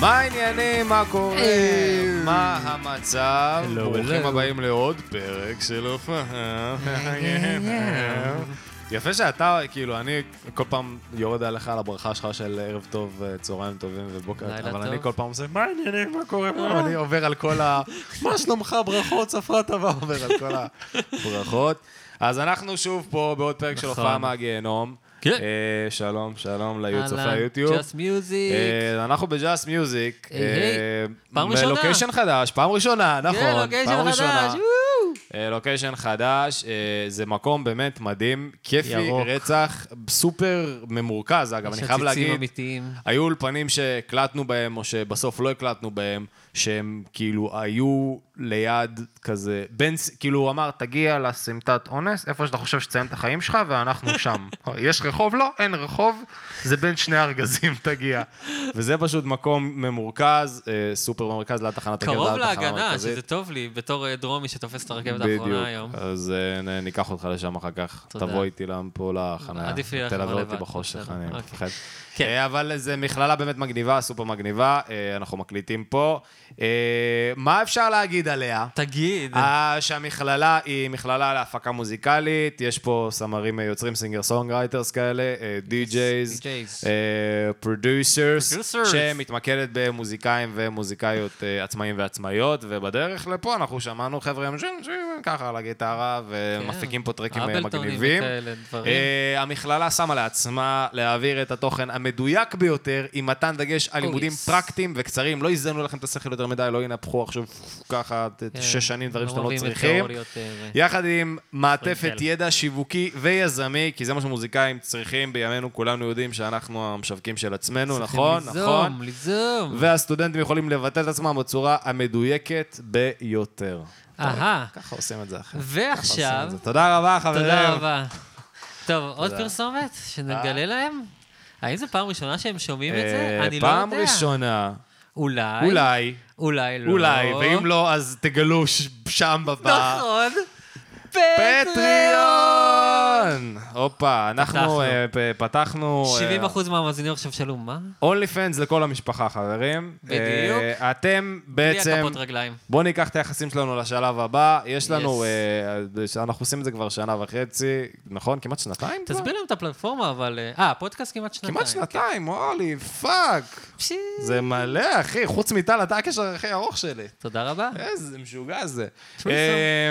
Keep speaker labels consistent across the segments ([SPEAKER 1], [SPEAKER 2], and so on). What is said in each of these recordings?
[SPEAKER 1] מה העניינים? מה קורה?
[SPEAKER 2] אה.
[SPEAKER 1] מה המצב?
[SPEAKER 2] Hello,
[SPEAKER 1] ברוכים
[SPEAKER 2] hello.
[SPEAKER 1] הבאים לעוד פרק של
[SPEAKER 2] אה,
[SPEAKER 1] הופעה. יפה שאתה, כאילו, אני כל פעם יורד עליך על הברכה שלך של ערב טוב, אה, צהריים טובים ובוקר,
[SPEAKER 2] לילה
[SPEAKER 1] אבל
[SPEAKER 2] טוב. אה.
[SPEAKER 1] אני כל פעם עושה, מה העניינים? מה קורה פה? אני עובר על כל ה... מה שלומך? ברכות, ספרה טובה, עובר על כל הברכות. אז אנחנו שוב פה בעוד פרק של
[SPEAKER 2] נכון.
[SPEAKER 1] הופעה מהגיהנום.
[SPEAKER 2] כן.
[SPEAKER 1] אה, שלום, שלום לצופי
[SPEAKER 2] אהלן,
[SPEAKER 1] היוטיוב.
[SPEAKER 2] Just Music.
[SPEAKER 1] אה, אנחנו בג'אסט מיוזיק.
[SPEAKER 2] היי, היי. פעם ראשונה.
[SPEAKER 1] בלוקיישן חדש, פעם ראשונה, נכון.
[SPEAKER 2] כן, לוקיישן
[SPEAKER 1] פעם
[SPEAKER 2] חדש,
[SPEAKER 1] ראשונה.
[SPEAKER 2] וואו.
[SPEAKER 1] אה, לוקיישן חדש, אה, זה מקום באמת מדהים, כיפי,
[SPEAKER 2] ירוק.
[SPEAKER 1] רצח, סופר ממורכז, אגב,
[SPEAKER 2] יש
[SPEAKER 1] אני חייב
[SPEAKER 2] עציצים
[SPEAKER 1] להגיד.
[SPEAKER 2] אמיתיים.
[SPEAKER 1] היו אולפנים שהקלטנו בהם, או שבסוף לא הקלטנו בהם, שהם כאילו היו ליד כזה, בין, ס- כאילו הוא אמר, תגיע לסמטת אונס, איפה שאתה חושב שתסיים את החיים שלך, ואנחנו שם. יש רחוב? לא, אין רחוב, זה בין שני ארגזים, תגיע. וזה פשוט מקום ממורכז, אה, סופר ממורכז, ליד תחנת הקרב,
[SPEAKER 2] קרוב
[SPEAKER 1] ליד התחנה
[SPEAKER 2] להגנה,
[SPEAKER 1] המרכזית.
[SPEAKER 2] שזה טוב לי, בתור אה, דרומי שתופס את הרכבת האחרונה היום.
[SPEAKER 1] בדיוק, אז אה, נ- ניקח אותך לשם אחר כך.
[SPEAKER 2] תודה.
[SPEAKER 1] תבוא איתי להם פה לחניה.
[SPEAKER 2] עדיף לי ללכת
[SPEAKER 1] תלווה
[SPEAKER 2] לבד,
[SPEAKER 1] אותי בחושך,
[SPEAKER 2] בסדר,
[SPEAKER 1] אני
[SPEAKER 2] אוקיי.
[SPEAKER 1] מפחד.
[SPEAKER 2] כן.
[SPEAKER 1] אה, אבל זו מכללה באמת מגניבה, סופר מגניבה, אה, אנחנו מקליטים פה. אה, מה אפשר להגיד עליה?
[SPEAKER 2] תגיד,
[SPEAKER 1] אה, שהמכללה היא מכללה להפקה מוזיקלית, יש פה סמרים אה, יוצרים, סינגר סונגרייטרס כאלה, אה, די-ג'ייז,
[SPEAKER 2] DJs.
[SPEAKER 1] אה, פרודוסרס,
[SPEAKER 2] Producers.
[SPEAKER 1] שמתמקדת במוזיקאים ומוזיקאיות אה, עצמאים ועצמאיות, ובדרך לפה אנחנו שמענו חבר'ה עם שין, שין, ככה על הגיטרה, ומפיקים
[SPEAKER 2] כן.
[SPEAKER 1] פה טרקים אה,
[SPEAKER 2] אבלטונים
[SPEAKER 1] מגניבים.
[SPEAKER 2] וכאלה דברים.
[SPEAKER 1] אה, המכללה שמה לעצמה להעביר את התוכן המדויק ביותר, עם מתן דגש על לימודים
[SPEAKER 2] Oh, yes.
[SPEAKER 1] פרקטיים וקצרים, לא יזנו לכם את השכל יותר מדי, לא ינפחו עכשיו ככה את-
[SPEAKER 2] כן,
[SPEAKER 1] שש שנים דברים
[SPEAKER 2] לא
[SPEAKER 1] שאתם לא
[SPEAKER 2] מביאים את
[SPEAKER 1] צריכים.
[SPEAKER 2] תיאוריות, אה,
[SPEAKER 1] יחד עם מעטפת
[SPEAKER 2] פרינגל.
[SPEAKER 1] ידע שיווקי ויזמי, כי זה מה שמוזיקאים צריכים בימינו, כולנו יודעים שאנחנו המשווקים של עצמנו, נכון?
[SPEAKER 2] ליזום,
[SPEAKER 1] נכון.
[SPEAKER 2] ליזום.
[SPEAKER 1] והסטודנטים יכולים לבטא את עצמם בצורה המדויקת ביותר.
[SPEAKER 2] אהה.
[SPEAKER 1] ככה עושים את זה אחרת. ככה עושים
[SPEAKER 2] ועכשיו,
[SPEAKER 1] את זה. תודה רבה, חברים.
[SPEAKER 2] תודה רבה. טוב, עוד פרסומת שנגלה להם? האם זו פעם ראשונה שהם שומעים את
[SPEAKER 1] אה,
[SPEAKER 2] זה? אני לא יודע.
[SPEAKER 1] פעם ראשונה,
[SPEAKER 2] אולי.
[SPEAKER 1] אולי,
[SPEAKER 2] אולי לא.
[SPEAKER 1] אולי, ואם לא, אה, אז תגלו ש- שם בבא.
[SPEAKER 2] נכון.
[SPEAKER 1] פטריון! הופה, אנחנו
[SPEAKER 2] פתחנו.
[SPEAKER 1] אה, פ- פתחנו... אה,
[SPEAKER 2] 70% מהמאזינים עכשיו שאלו, מה?
[SPEAKER 1] אונלי פנס לכל המשפחה, חברים.
[SPEAKER 2] בדיוק.
[SPEAKER 1] אה, אתם
[SPEAKER 2] בלי
[SPEAKER 1] בעצם...
[SPEAKER 2] הכפות רגליים.
[SPEAKER 1] בואו ניקח את היחסים שלנו לשלב הבא. יש לנו...
[SPEAKER 2] Yes.
[SPEAKER 1] אה, אנחנו עושים את זה כבר שנה וחצי, נכון? כמעט שנתיים? כבר?
[SPEAKER 2] תסביר להם את הפלטפורמה, אבל... אה, אה, הפודקאסט כמעט שנתיים. כן.
[SPEAKER 1] כמעט שנתיים, אולי, פאק.
[SPEAKER 2] פשי.
[SPEAKER 1] זה מלא, אחי. חוץ מטל, אתה הקשר הכי ארוך שלי.
[SPEAKER 2] תודה רבה.
[SPEAKER 1] איזה משוגע זה.
[SPEAKER 2] תשמע,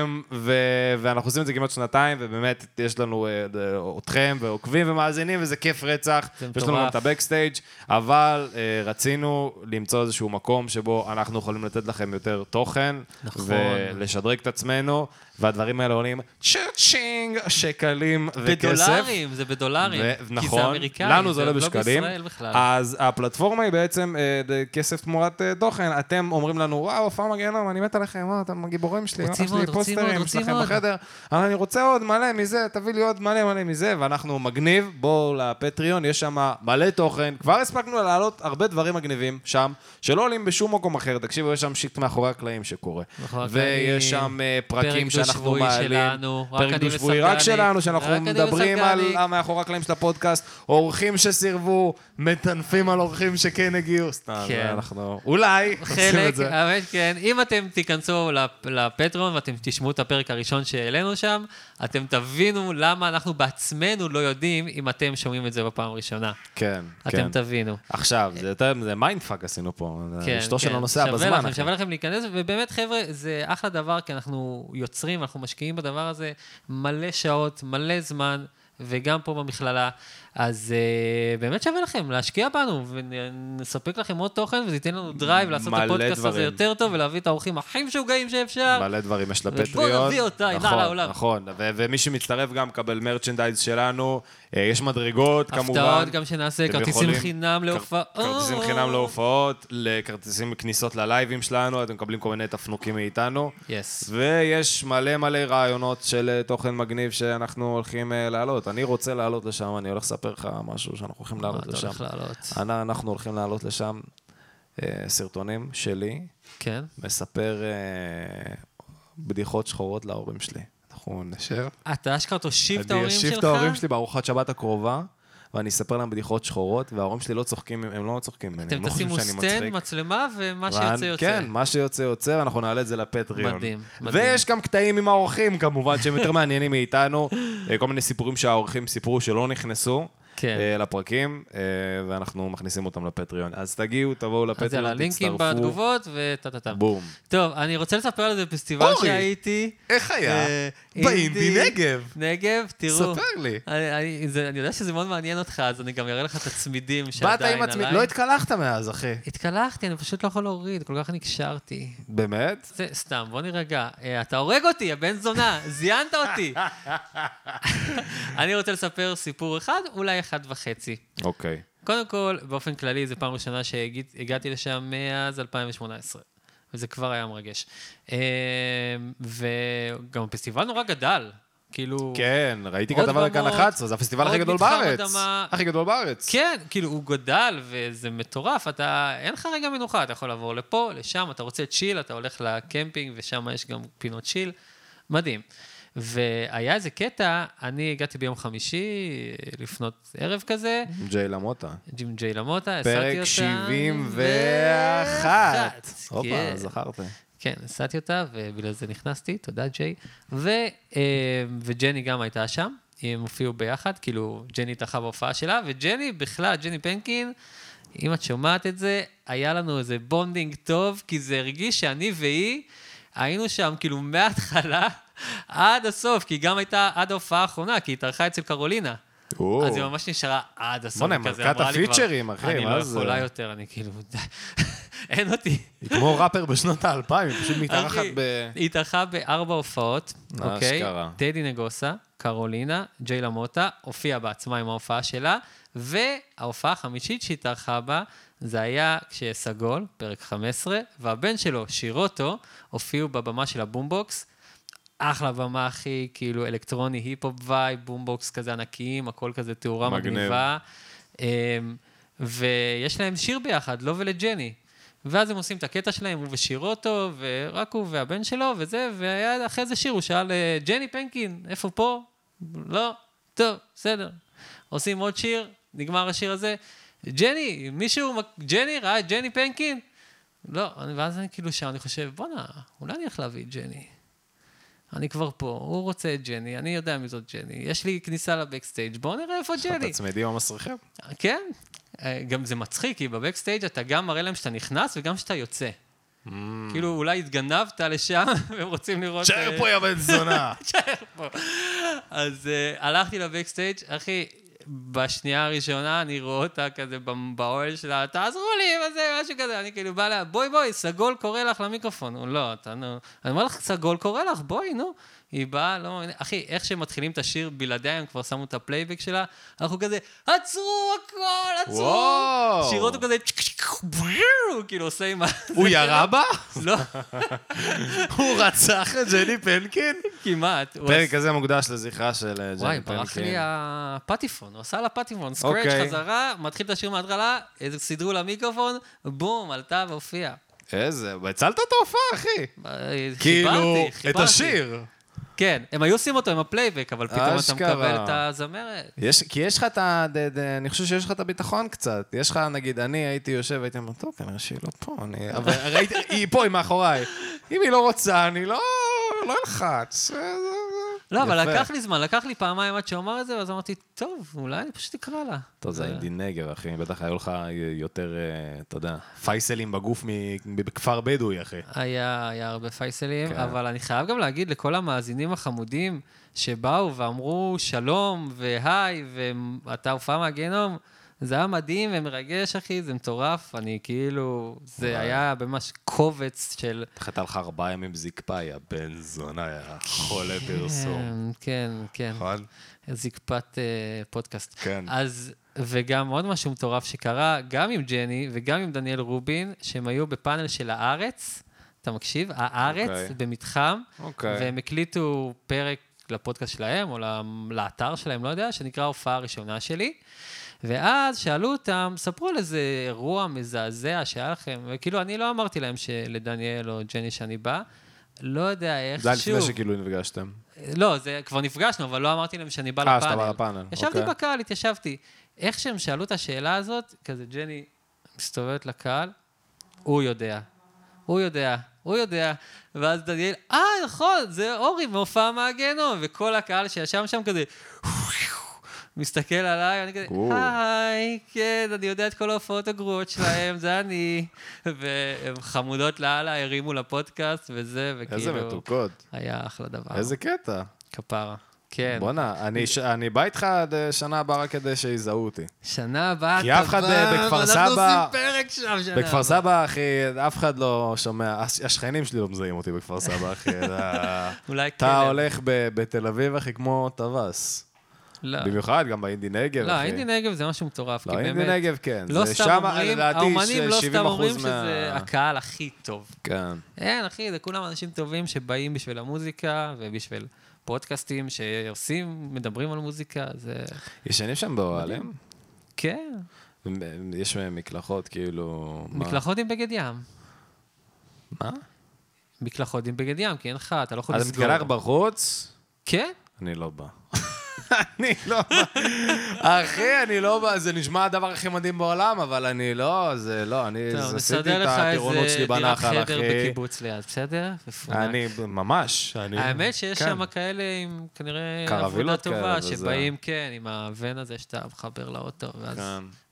[SPEAKER 1] אמ, ו- ואנחנו עושים את זה כמעט שנתיים, ובאמת יש לנו אה, ד- אתכם ועוקבים ומאזינים, וזה כיף רצח.
[SPEAKER 2] זה
[SPEAKER 1] ויש לנו גם את
[SPEAKER 2] מטורף.
[SPEAKER 1] הבקסטייג', אבל אה, רצינו למצוא איזשהו מקום שבו אנחנו יכולים לתת לכם יותר תוכן,
[SPEAKER 2] נכון.
[SPEAKER 1] ולשדרג את עצמנו, והדברים האלה עולים צ'רצ'ינג, שקלים וכסף.
[SPEAKER 2] בדולרים, זה בדולרים.
[SPEAKER 1] ו-
[SPEAKER 2] כי
[SPEAKER 1] נכון,
[SPEAKER 2] זה אמריקאי,
[SPEAKER 1] לנו זה עולה
[SPEAKER 2] לא
[SPEAKER 1] בשקלים. אה,
[SPEAKER 2] בישראל בכלל.
[SPEAKER 1] אז הפלטפורמה היא בעצם אה, ד- כסף תמורת אה, תוכן. אתם אומרים לנו, וואו, הופעה מגיהנום, אני מת עליכם, וואו, אתם הגיבורים שלי, אה,
[SPEAKER 2] רוצים
[SPEAKER 1] יש לי
[SPEAKER 2] עוד, רוצים עוד,
[SPEAKER 1] פוסטרים
[SPEAKER 2] רוצים
[SPEAKER 1] שלכם
[SPEAKER 2] עוד."
[SPEAKER 1] בחדר, אבל אני רוצה עוד מלא מזה, תביא לי עוד מלא מלא מזה, ואנחנו מגניב, בואו לפטריון, יש שם מלא תוכן. כבר הספקנו להעלות הרבה דברים מגניבים שם, שלא עולים בשום מקום אחר. תקשיבו, יש שם שיט מאחורי הקלעים שקורה.
[SPEAKER 2] מאחורי נכון, הקלעים,
[SPEAKER 1] ויש שם אה, פרקים
[SPEAKER 2] פרק
[SPEAKER 1] שאנחנו
[SPEAKER 2] דו-שבועי
[SPEAKER 1] מעלים.
[SPEAKER 2] שלנו, רק אני
[SPEAKER 1] דו-שבועי, רק
[SPEAKER 2] וסמג"ניק.
[SPEAKER 1] שלנו, שאנחנו
[SPEAKER 2] רק אני
[SPEAKER 1] מדברים על
[SPEAKER 2] וסמג"ניק.
[SPEAKER 1] מאחורי הקלעים של הפודקאסט, אורחים שסירבו, מטנפים על אורחים שכן הגיעו. סתם,
[SPEAKER 2] כן.
[SPEAKER 1] אנחנו אולי עושים את
[SPEAKER 2] חלק,
[SPEAKER 1] זה.
[SPEAKER 2] האמת כן. אם אתם תיכנסו לפ- לפטרון ואתם תשמעו את הפרק הראשון שהעלינו שם, אתם תבינו למה אנחנו בעצמנו לא יודעים אם אתם שומעים את זה בפעם הראשונה.
[SPEAKER 1] כן, כן.
[SPEAKER 2] אה, אתם תבינו.
[SPEAKER 1] עכשיו, זה יותר, זה מיינדפאק עשינו פה.
[SPEAKER 2] כן,
[SPEAKER 1] אשתו
[SPEAKER 2] כן.
[SPEAKER 1] שלו נוסע
[SPEAKER 2] שווה
[SPEAKER 1] בזמן.
[SPEAKER 2] לכם,
[SPEAKER 1] אחי.
[SPEAKER 2] שווה לכם להיכנס, ובאמת, חבר'ה, זה אחלה דבר, כי אנחנו יוצרים, אנחנו משקיעים בדבר הזה מלא שעות, מלא זמן, וגם פה במכללה. אז אה, באמת שווה לכם להשקיע בנו, ונספק לכם עוד תוכן, וזה ייתן לנו דרייב לעשות את
[SPEAKER 1] מלא
[SPEAKER 2] הפודקאסט הזה
[SPEAKER 1] דברים.
[SPEAKER 2] יותר טוב, ולהביא את האורחים הכי משוגעים שאפשר.
[SPEAKER 1] מלא דברים יש לפטריון.
[SPEAKER 2] ובוא נביא אותה, הנה
[SPEAKER 1] נכון,
[SPEAKER 2] לעולם.
[SPEAKER 1] נכון, ו- ומי שמצטרף גם מקבל מרצ'נדייז שלנו, אה, יש מדרגות כמובן.
[SPEAKER 2] הפתעות גם שנעשה,
[SPEAKER 1] אתם
[SPEAKER 2] כרטיסים
[SPEAKER 1] יכולים-
[SPEAKER 2] חינם
[SPEAKER 1] כר-
[SPEAKER 2] להופעות.
[SPEAKER 1] כרטיסים חינם להופעות, לכרטיסים כניסות ללייבים שלנו, אתם מקבלים כל מיני תפנוקים מאיתנו.
[SPEAKER 2] יס.
[SPEAKER 1] ויש מלא מלא רעיונות של אה, תוכן מגניב שאנחנו הולכים אה, להעלות. אני רוצה לעלות לשם, אני הולך לספר לך משהו שאנחנו הולכים לעלות
[SPEAKER 2] אתה
[SPEAKER 1] לשם.
[SPEAKER 2] הולך לעלות.
[SPEAKER 1] אנ- אנחנו הולכים לעלות לשם אה, סרטונים שלי,
[SPEAKER 2] כן.
[SPEAKER 1] מספר אה, בדיחות שחורות להורים שלי. אנחנו נשב.
[SPEAKER 2] אתה אשכרה תושיב את
[SPEAKER 1] אני
[SPEAKER 2] ההורים
[SPEAKER 1] אשיב את
[SPEAKER 2] שלך?
[SPEAKER 1] ההורים שלי בארוחת שבת הקרובה, ואני אספר להם בדיחות שחורות, וההורים שלי לא צוחקים, הם לא צוחקים ממני, הם
[SPEAKER 2] אתם
[SPEAKER 1] לא חושבים
[SPEAKER 2] תשימו
[SPEAKER 1] שאני מצחיק.
[SPEAKER 2] סטנד, מצלמה, ומה
[SPEAKER 1] ואנ-
[SPEAKER 2] שיוצא יוצא.
[SPEAKER 1] כן, מה שיוצא יוצא, ואנחנו נעלה את זה לפטריון.
[SPEAKER 2] מדהים, מדהים.
[SPEAKER 1] ויש גם קטעים עם האורחים, כמובן, שהם יותר מעניינים מאיתנו. אה, כל מיני סיפורים שהאורחים סיפרו שלא נכנסו.
[SPEAKER 2] כן.
[SPEAKER 1] אה, לפרקים, אה, ואנחנו מכניסים אותם לפטריון. אז תגיעו, תבואו לפטריון,
[SPEAKER 2] אז
[SPEAKER 1] לא תצטרפו.
[SPEAKER 2] יאללה, לינקים בתגובות וטה טה טה.
[SPEAKER 1] בום.
[SPEAKER 2] טוב, אני רוצה לספר על איזה פסטיבל
[SPEAKER 1] אורי,
[SPEAKER 2] שהייתי.
[SPEAKER 1] איך היה?
[SPEAKER 2] אה,
[SPEAKER 1] באינדי נגב.
[SPEAKER 2] נגב, תראו.
[SPEAKER 1] ספר לי.
[SPEAKER 2] אני, אני, זה, אני יודע שזה מאוד מעניין אותך, אז אני גם אראה לך את הצמידים
[SPEAKER 1] באת
[SPEAKER 2] שעדיין
[SPEAKER 1] עם
[SPEAKER 2] עליי.
[SPEAKER 1] עצמי, לא התקלחת מאז, אחי.
[SPEAKER 2] התקלחתי, אני פשוט לא יכול להוריד, כל כך נקשרתי.
[SPEAKER 1] באמת?
[SPEAKER 2] זה, סתם, בוא נירגע. אה, אתה הורג אותי, הבן זונה, זיינת אותי. אני רוצה לספר סיפור אחד, אולי אחד וחצי.
[SPEAKER 1] אוקיי.
[SPEAKER 2] קודם כל, באופן כללי, זו פעם ראשונה שהגעתי לשם מאז 2018. וזה כבר היה מרגש. אה, וגם הפסטיבל נורא גדל. כאילו...
[SPEAKER 1] כן, ראיתי
[SPEAKER 2] עוד
[SPEAKER 1] כתבה לכאן
[SPEAKER 2] במות,
[SPEAKER 1] 11, זה הפסטיבל הכי
[SPEAKER 2] עוד
[SPEAKER 1] גדול
[SPEAKER 2] מתחם
[SPEAKER 1] בארץ.
[SPEAKER 2] אדמה.
[SPEAKER 1] הכי גדול בארץ.
[SPEAKER 2] כן, כאילו, הוא גדל, וזה מטורף. אתה, אין לך רגע מנוחה, אתה יכול לעבור לפה, לשם, אתה רוצה צ'יל, אתה הולך לקמפינג, ושם יש גם פינות צ'יל. מדהים. והיה איזה קטע, אני הגעתי ביום חמישי, אה, לפנות ערב כזה,
[SPEAKER 1] ג'יי למוטה.
[SPEAKER 2] ג'ים ג'יי למוטה, הסעתי אותה.
[SPEAKER 1] פרק 71. הופה,
[SPEAKER 2] כן.
[SPEAKER 1] זכרת.
[SPEAKER 2] כן, הסעתי אותה, ובגלל זה נכנסתי, תודה ג'יי. ו, אה, וג'ני גם הייתה שם, הם הופיעו ביחד, כאילו, ג'ני התארחה בהופעה שלה, וג'ני בכלל, ג'ני פנקין, אם את שומעת את זה, היה לנו איזה בונדינג טוב, כי זה הרגיש שאני והיא היינו שם כאילו מההתחלה עד הסוף, כי היא גם הייתה עד ההופעה האחרונה, כי היא התארחה אצל קרולינה.
[SPEAKER 1] או.
[SPEAKER 2] אז היא ממש נשארה עד הסוף.
[SPEAKER 1] בוא'נה,
[SPEAKER 2] היא כזה
[SPEAKER 1] מלכת
[SPEAKER 2] אמרה לי כבר,
[SPEAKER 1] הפיצ'רים, אחי,
[SPEAKER 2] אני
[SPEAKER 1] מה
[SPEAKER 2] לא
[SPEAKER 1] זה?"
[SPEAKER 2] יכולה יותר, אני כאילו, די. אין אותי.
[SPEAKER 1] היא כמו ראפר בשנות האלפיים, היא פשוט מתארחת
[SPEAKER 2] אחי,
[SPEAKER 1] ב...
[SPEAKER 2] היא התארחה בארבע הופעות,
[SPEAKER 1] אה,
[SPEAKER 2] אוקיי?
[SPEAKER 1] אשכרה.
[SPEAKER 2] טדי נגוסה, קרולינה, ג'יי למוטה, הופיעה בעצמה עם ההופעה שלה, וההופעה החמישית שהיא התארחה בה, זה היה כשסגול, פרק 15, והבן שלו, שירוטו, הופיעו בבמה של הבומבוקס. אחלה במה, אחי, כאילו אלקטרוני, היפ-הופ וייב, בומבוקס כזה ענקיים, הכל כזה תאורה
[SPEAKER 1] מגניב.
[SPEAKER 2] מגניבה. אמ, ויש להם שיר ביחד, לו ולג'ני. ואז הם עושים את הקטע שלהם, הוא ושיר אותו, ורק הוא והבן שלו, וזה, והיה אחרי זה שיר, הוא שאל, אה, ג'ני פנקין, איפה פה? לא, טוב, בסדר. עושים עוד שיר, נגמר השיר הזה. ג'ני, מישהו, מק- ג'ני ראה את ג'ני פנקין? לא, אני- ואז אני כאילו שם, אני חושב, בואנה, אולי אני הולך להביא את ג'ני. אני כבר פה, הוא רוצה את ג'ני, אני יודע מי זאת ג'ני, יש לי כניסה לבקסטייג', בואו נראה איפה ג'ני.
[SPEAKER 1] תצמידים המסריחים.
[SPEAKER 2] כן, אה, גם זה מצחיק, כי בבקסטייג' אתה גם מראה להם שאתה נכנס וגם שאתה יוצא. כאילו, אולי התגנבת לשם, והם רוצים לראות... אה,
[SPEAKER 1] יא בן זונה.
[SPEAKER 2] אז uh, הלכתי לבקסטייג', אחי, בשנייה הראשונה אני רואה אותה כזה במ- באוהל שלה, תעזרו לי, מה זה, משהו כזה, אני כאילו בא לה, בואי בואי, סגול קורא לך למיקרופון. הוא לא, אתה נו, אני אומר לך, סגול קורא לך, בואי, נו. היא באה, לא מאמינה, אחי, איך שהם מתחילים את השיר בלעדיה, הם כבר שמו את הפלייבק שלה, אנחנו כזה, עצרו הכל, עצרו.
[SPEAKER 1] וואו.
[SPEAKER 2] שירות הוא כזה, צ'ק, צ'ק, בואו, הוא כאילו עושה עם ה...
[SPEAKER 1] הוא ירה בה?
[SPEAKER 2] לא,
[SPEAKER 1] הוא רצח את ג'ני פנקין?
[SPEAKER 2] כמעט. הוא
[SPEAKER 1] פרק הזה מוקדש לזכרה של אה,
[SPEAKER 2] וואי,
[SPEAKER 1] ג'ני
[SPEAKER 2] ברח לי
[SPEAKER 1] פנקין.
[SPEAKER 2] הפטיפון, הוא עשה לה פטיפון, סקרץ'
[SPEAKER 1] אוקיי.
[SPEAKER 2] חזרה, מתחיל את השיר מההתחלה, איזה- סידרו לה מיקרופון, בום, עלתה והופיעה.
[SPEAKER 1] איזה, הצלת את ההופעה, אחי.
[SPEAKER 2] אה,
[SPEAKER 1] כאילו,
[SPEAKER 2] חיברתי,
[SPEAKER 1] את
[SPEAKER 2] חיברתי.
[SPEAKER 1] השיר.
[SPEAKER 2] כן, הם היו עושים אותו עם הפלייבק, אבל פתאום אתה
[SPEAKER 1] אשכרה.
[SPEAKER 2] מקבל את הזמרת.
[SPEAKER 1] יש, כי יש לך את ה... ד, ד, אני חושב שיש לך את הביטחון קצת. יש לך, נגיד, אני הייתי יושב, הייתי אומר, טוב, כנראה שהיא לא פה, אני... אבל ראיתי, היא פה, היא מאחוריי. אם היא לא רוצה, אני לא... לא אלחץ. אה, זה- זה-
[SPEAKER 2] לא, אבל
[SPEAKER 1] יפה.
[SPEAKER 2] לקח לי זמן, לקח לי פעמיים עד שהוא אמר את זה, ואז אמרתי, טוב, אולי אני פשוט אקרא לה.
[SPEAKER 1] טוב, זה אינדי נגב, אחי, בטח היו לך יותר, אה, אתה יודע, פייסלים בגוף מ- בכפר בדואי, אחי.
[SPEAKER 2] היה, היה הרבה פייסלים,
[SPEAKER 1] כן.
[SPEAKER 2] כן. אבל אני חייב גם להגיד לכל המאזינים החמודים שבאו ואמרו שלום והיי, ואתה הופעה מהגיהנום, זה היה מדהים ומרגש, אחי, זה מטורף. אני כאילו, זה היה ממש קובץ של...
[SPEAKER 1] נחת לך ארבעה ימים זקפה, יא בן זונה, יא חולה פרסום.
[SPEAKER 2] כן, כן.
[SPEAKER 1] נכון?
[SPEAKER 2] זקפת אה, פודקאסט.
[SPEAKER 1] כן.
[SPEAKER 2] אז, וגם עוד משהו מטורף שקרה, גם עם ג'ני וגם עם דניאל רובין, שהם היו בפאנל של הארץ, אתה מקשיב? הארץ
[SPEAKER 1] אוקיי.
[SPEAKER 2] במתחם,
[SPEAKER 1] אוקיי.
[SPEAKER 2] והם הקליטו פרק לפודקאסט שלהם, או ל- לאתר שלהם, לא יודע, שנקרא הופעה הראשונה שלי. ואז שאלו אותם, ספרו על איזה אירוע מזעזע שהיה לכם, וכאילו, אני לא אמרתי להם שלדניאל או ג'ני שאני בא. לא יודע איך,
[SPEAKER 1] זה היה לפני
[SPEAKER 2] שוב.
[SPEAKER 1] שכאילו נפגשתם.
[SPEAKER 2] לא, זה כבר נפגשנו, אבל לא אמרתי להם שאני בא לפאנל.
[SPEAKER 1] אה, שאתה בא לפאנל,
[SPEAKER 2] ישבתי
[SPEAKER 1] אוקיי.
[SPEAKER 2] בקהל, התיישבתי. איך שהם שאלו את השאלה הזאת, כזה ג'ני מסתובבת לקהל, הוא יודע. הוא יודע, הוא יודע. ואז דניאל, אה, נכון, זה אורי מהופעה מהגיהנום. וכל הקהל שישב שם כזה, מסתכל עליי, אני כזה,
[SPEAKER 1] גור.
[SPEAKER 2] היי, כן, אני יודע את כל ההופעות הגרועות שלהם, זה אני. והן חמודות לאללה, הרימו לפודקאסט וזה, וכאילו...
[SPEAKER 1] איזה מתוקות.
[SPEAKER 2] היה אחלה דבר.
[SPEAKER 1] איזה קטע.
[SPEAKER 2] כפרה. כן.
[SPEAKER 1] בואנה, אני ש- אני בא איתך עד אה, שנה הבאה רק כדי שיזהו אותי.
[SPEAKER 2] שנה הבאה
[SPEAKER 1] כי
[SPEAKER 2] אתה
[SPEAKER 1] אף אחד,
[SPEAKER 2] בא,
[SPEAKER 1] אה, בכפר
[SPEAKER 2] ואנחנו
[SPEAKER 1] סבא-
[SPEAKER 2] עושים פרק שם שנה
[SPEAKER 1] בכפר
[SPEAKER 2] הבאה.
[SPEAKER 1] סבא, אחי, אף אחד לא שומע, הש- השכנים שלי לא מזהים אותי בכפר סבא, אחי. אתה-
[SPEAKER 2] אולי
[SPEAKER 1] אתה
[SPEAKER 2] כלב.
[SPEAKER 1] הולך ב- בתל אביב, אחי, כמו טווס.
[SPEAKER 2] לא,
[SPEAKER 1] במיוחד, גם באינדי נגב,
[SPEAKER 2] לא,
[SPEAKER 1] אחי.
[SPEAKER 2] אינדי נגב זה משהו מטורף,
[SPEAKER 1] לא,
[SPEAKER 2] כי
[SPEAKER 1] אינדי
[SPEAKER 2] באמת...
[SPEAKER 1] נגב, כן.
[SPEAKER 2] לא
[SPEAKER 1] זה
[SPEAKER 2] סתם
[SPEAKER 1] שם,
[SPEAKER 2] אומרים,
[SPEAKER 1] לדעתי,
[SPEAKER 2] האומנים לא סתם
[SPEAKER 1] 70%
[SPEAKER 2] אומרים
[SPEAKER 1] מה-
[SPEAKER 2] שזה הקהל הכי טוב.
[SPEAKER 1] כן.
[SPEAKER 2] אין, אחי, זה כולם אנשים טובים שבאים בשביל המוזיקה ובשביל פודקאסטים שעושים, מדברים על מוזיקה, זה...
[SPEAKER 1] ישנים שם באוהלים?
[SPEAKER 2] כן,
[SPEAKER 1] יש מקלחות, כאילו... מה?
[SPEAKER 2] מקלחות עם בגד ים.
[SPEAKER 1] מה?
[SPEAKER 2] מקלחות עם בגד ים, כי אין לך, אתה לא יכול
[SPEAKER 1] אתה
[SPEAKER 2] לסגור.
[SPEAKER 1] מתקלח בחוץ?
[SPEAKER 2] כן?
[SPEAKER 1] אני לא בא. אני לא בא. אחי, אני לא בא. זה נשמע הדבר הכי מדהים בעולם, אבל אני לא, זה לא, אני
[SPEAKER 2] טוב,
[SPEAKER 1] זה עשיתי
[SPEAKER 2] נסדר
[SPEAKER 1] את
[SPEAKER 2] לך
[SPEAKER 1] הטירונות שלי
[SPEAKER 2] איזה דירת
[SPEAKER 1] בנחל,
[SPEAKER 2] חדר
[SPEAKER 1] אחי.
[SPEAKER 2] בקיבוץ ליד, בסדר? מפונק.
[SPEAKER 1] אני, ממש. אני-
[SPEAKER 2] האמת שיש
[SPEAKER 1] כן.
[SPEAKER 2] שם כאלה עם כנראה עבודה
[SPEAKER 1] קרווילות כאלה
[SPEAKER 2] טובה,
[SPEAKER 1] וזה.
[SPEAKER 2] שבאים, כן, עם הוון הזה שאתה מחבר לאוטו, ואז
[SPEAKER 1] כן.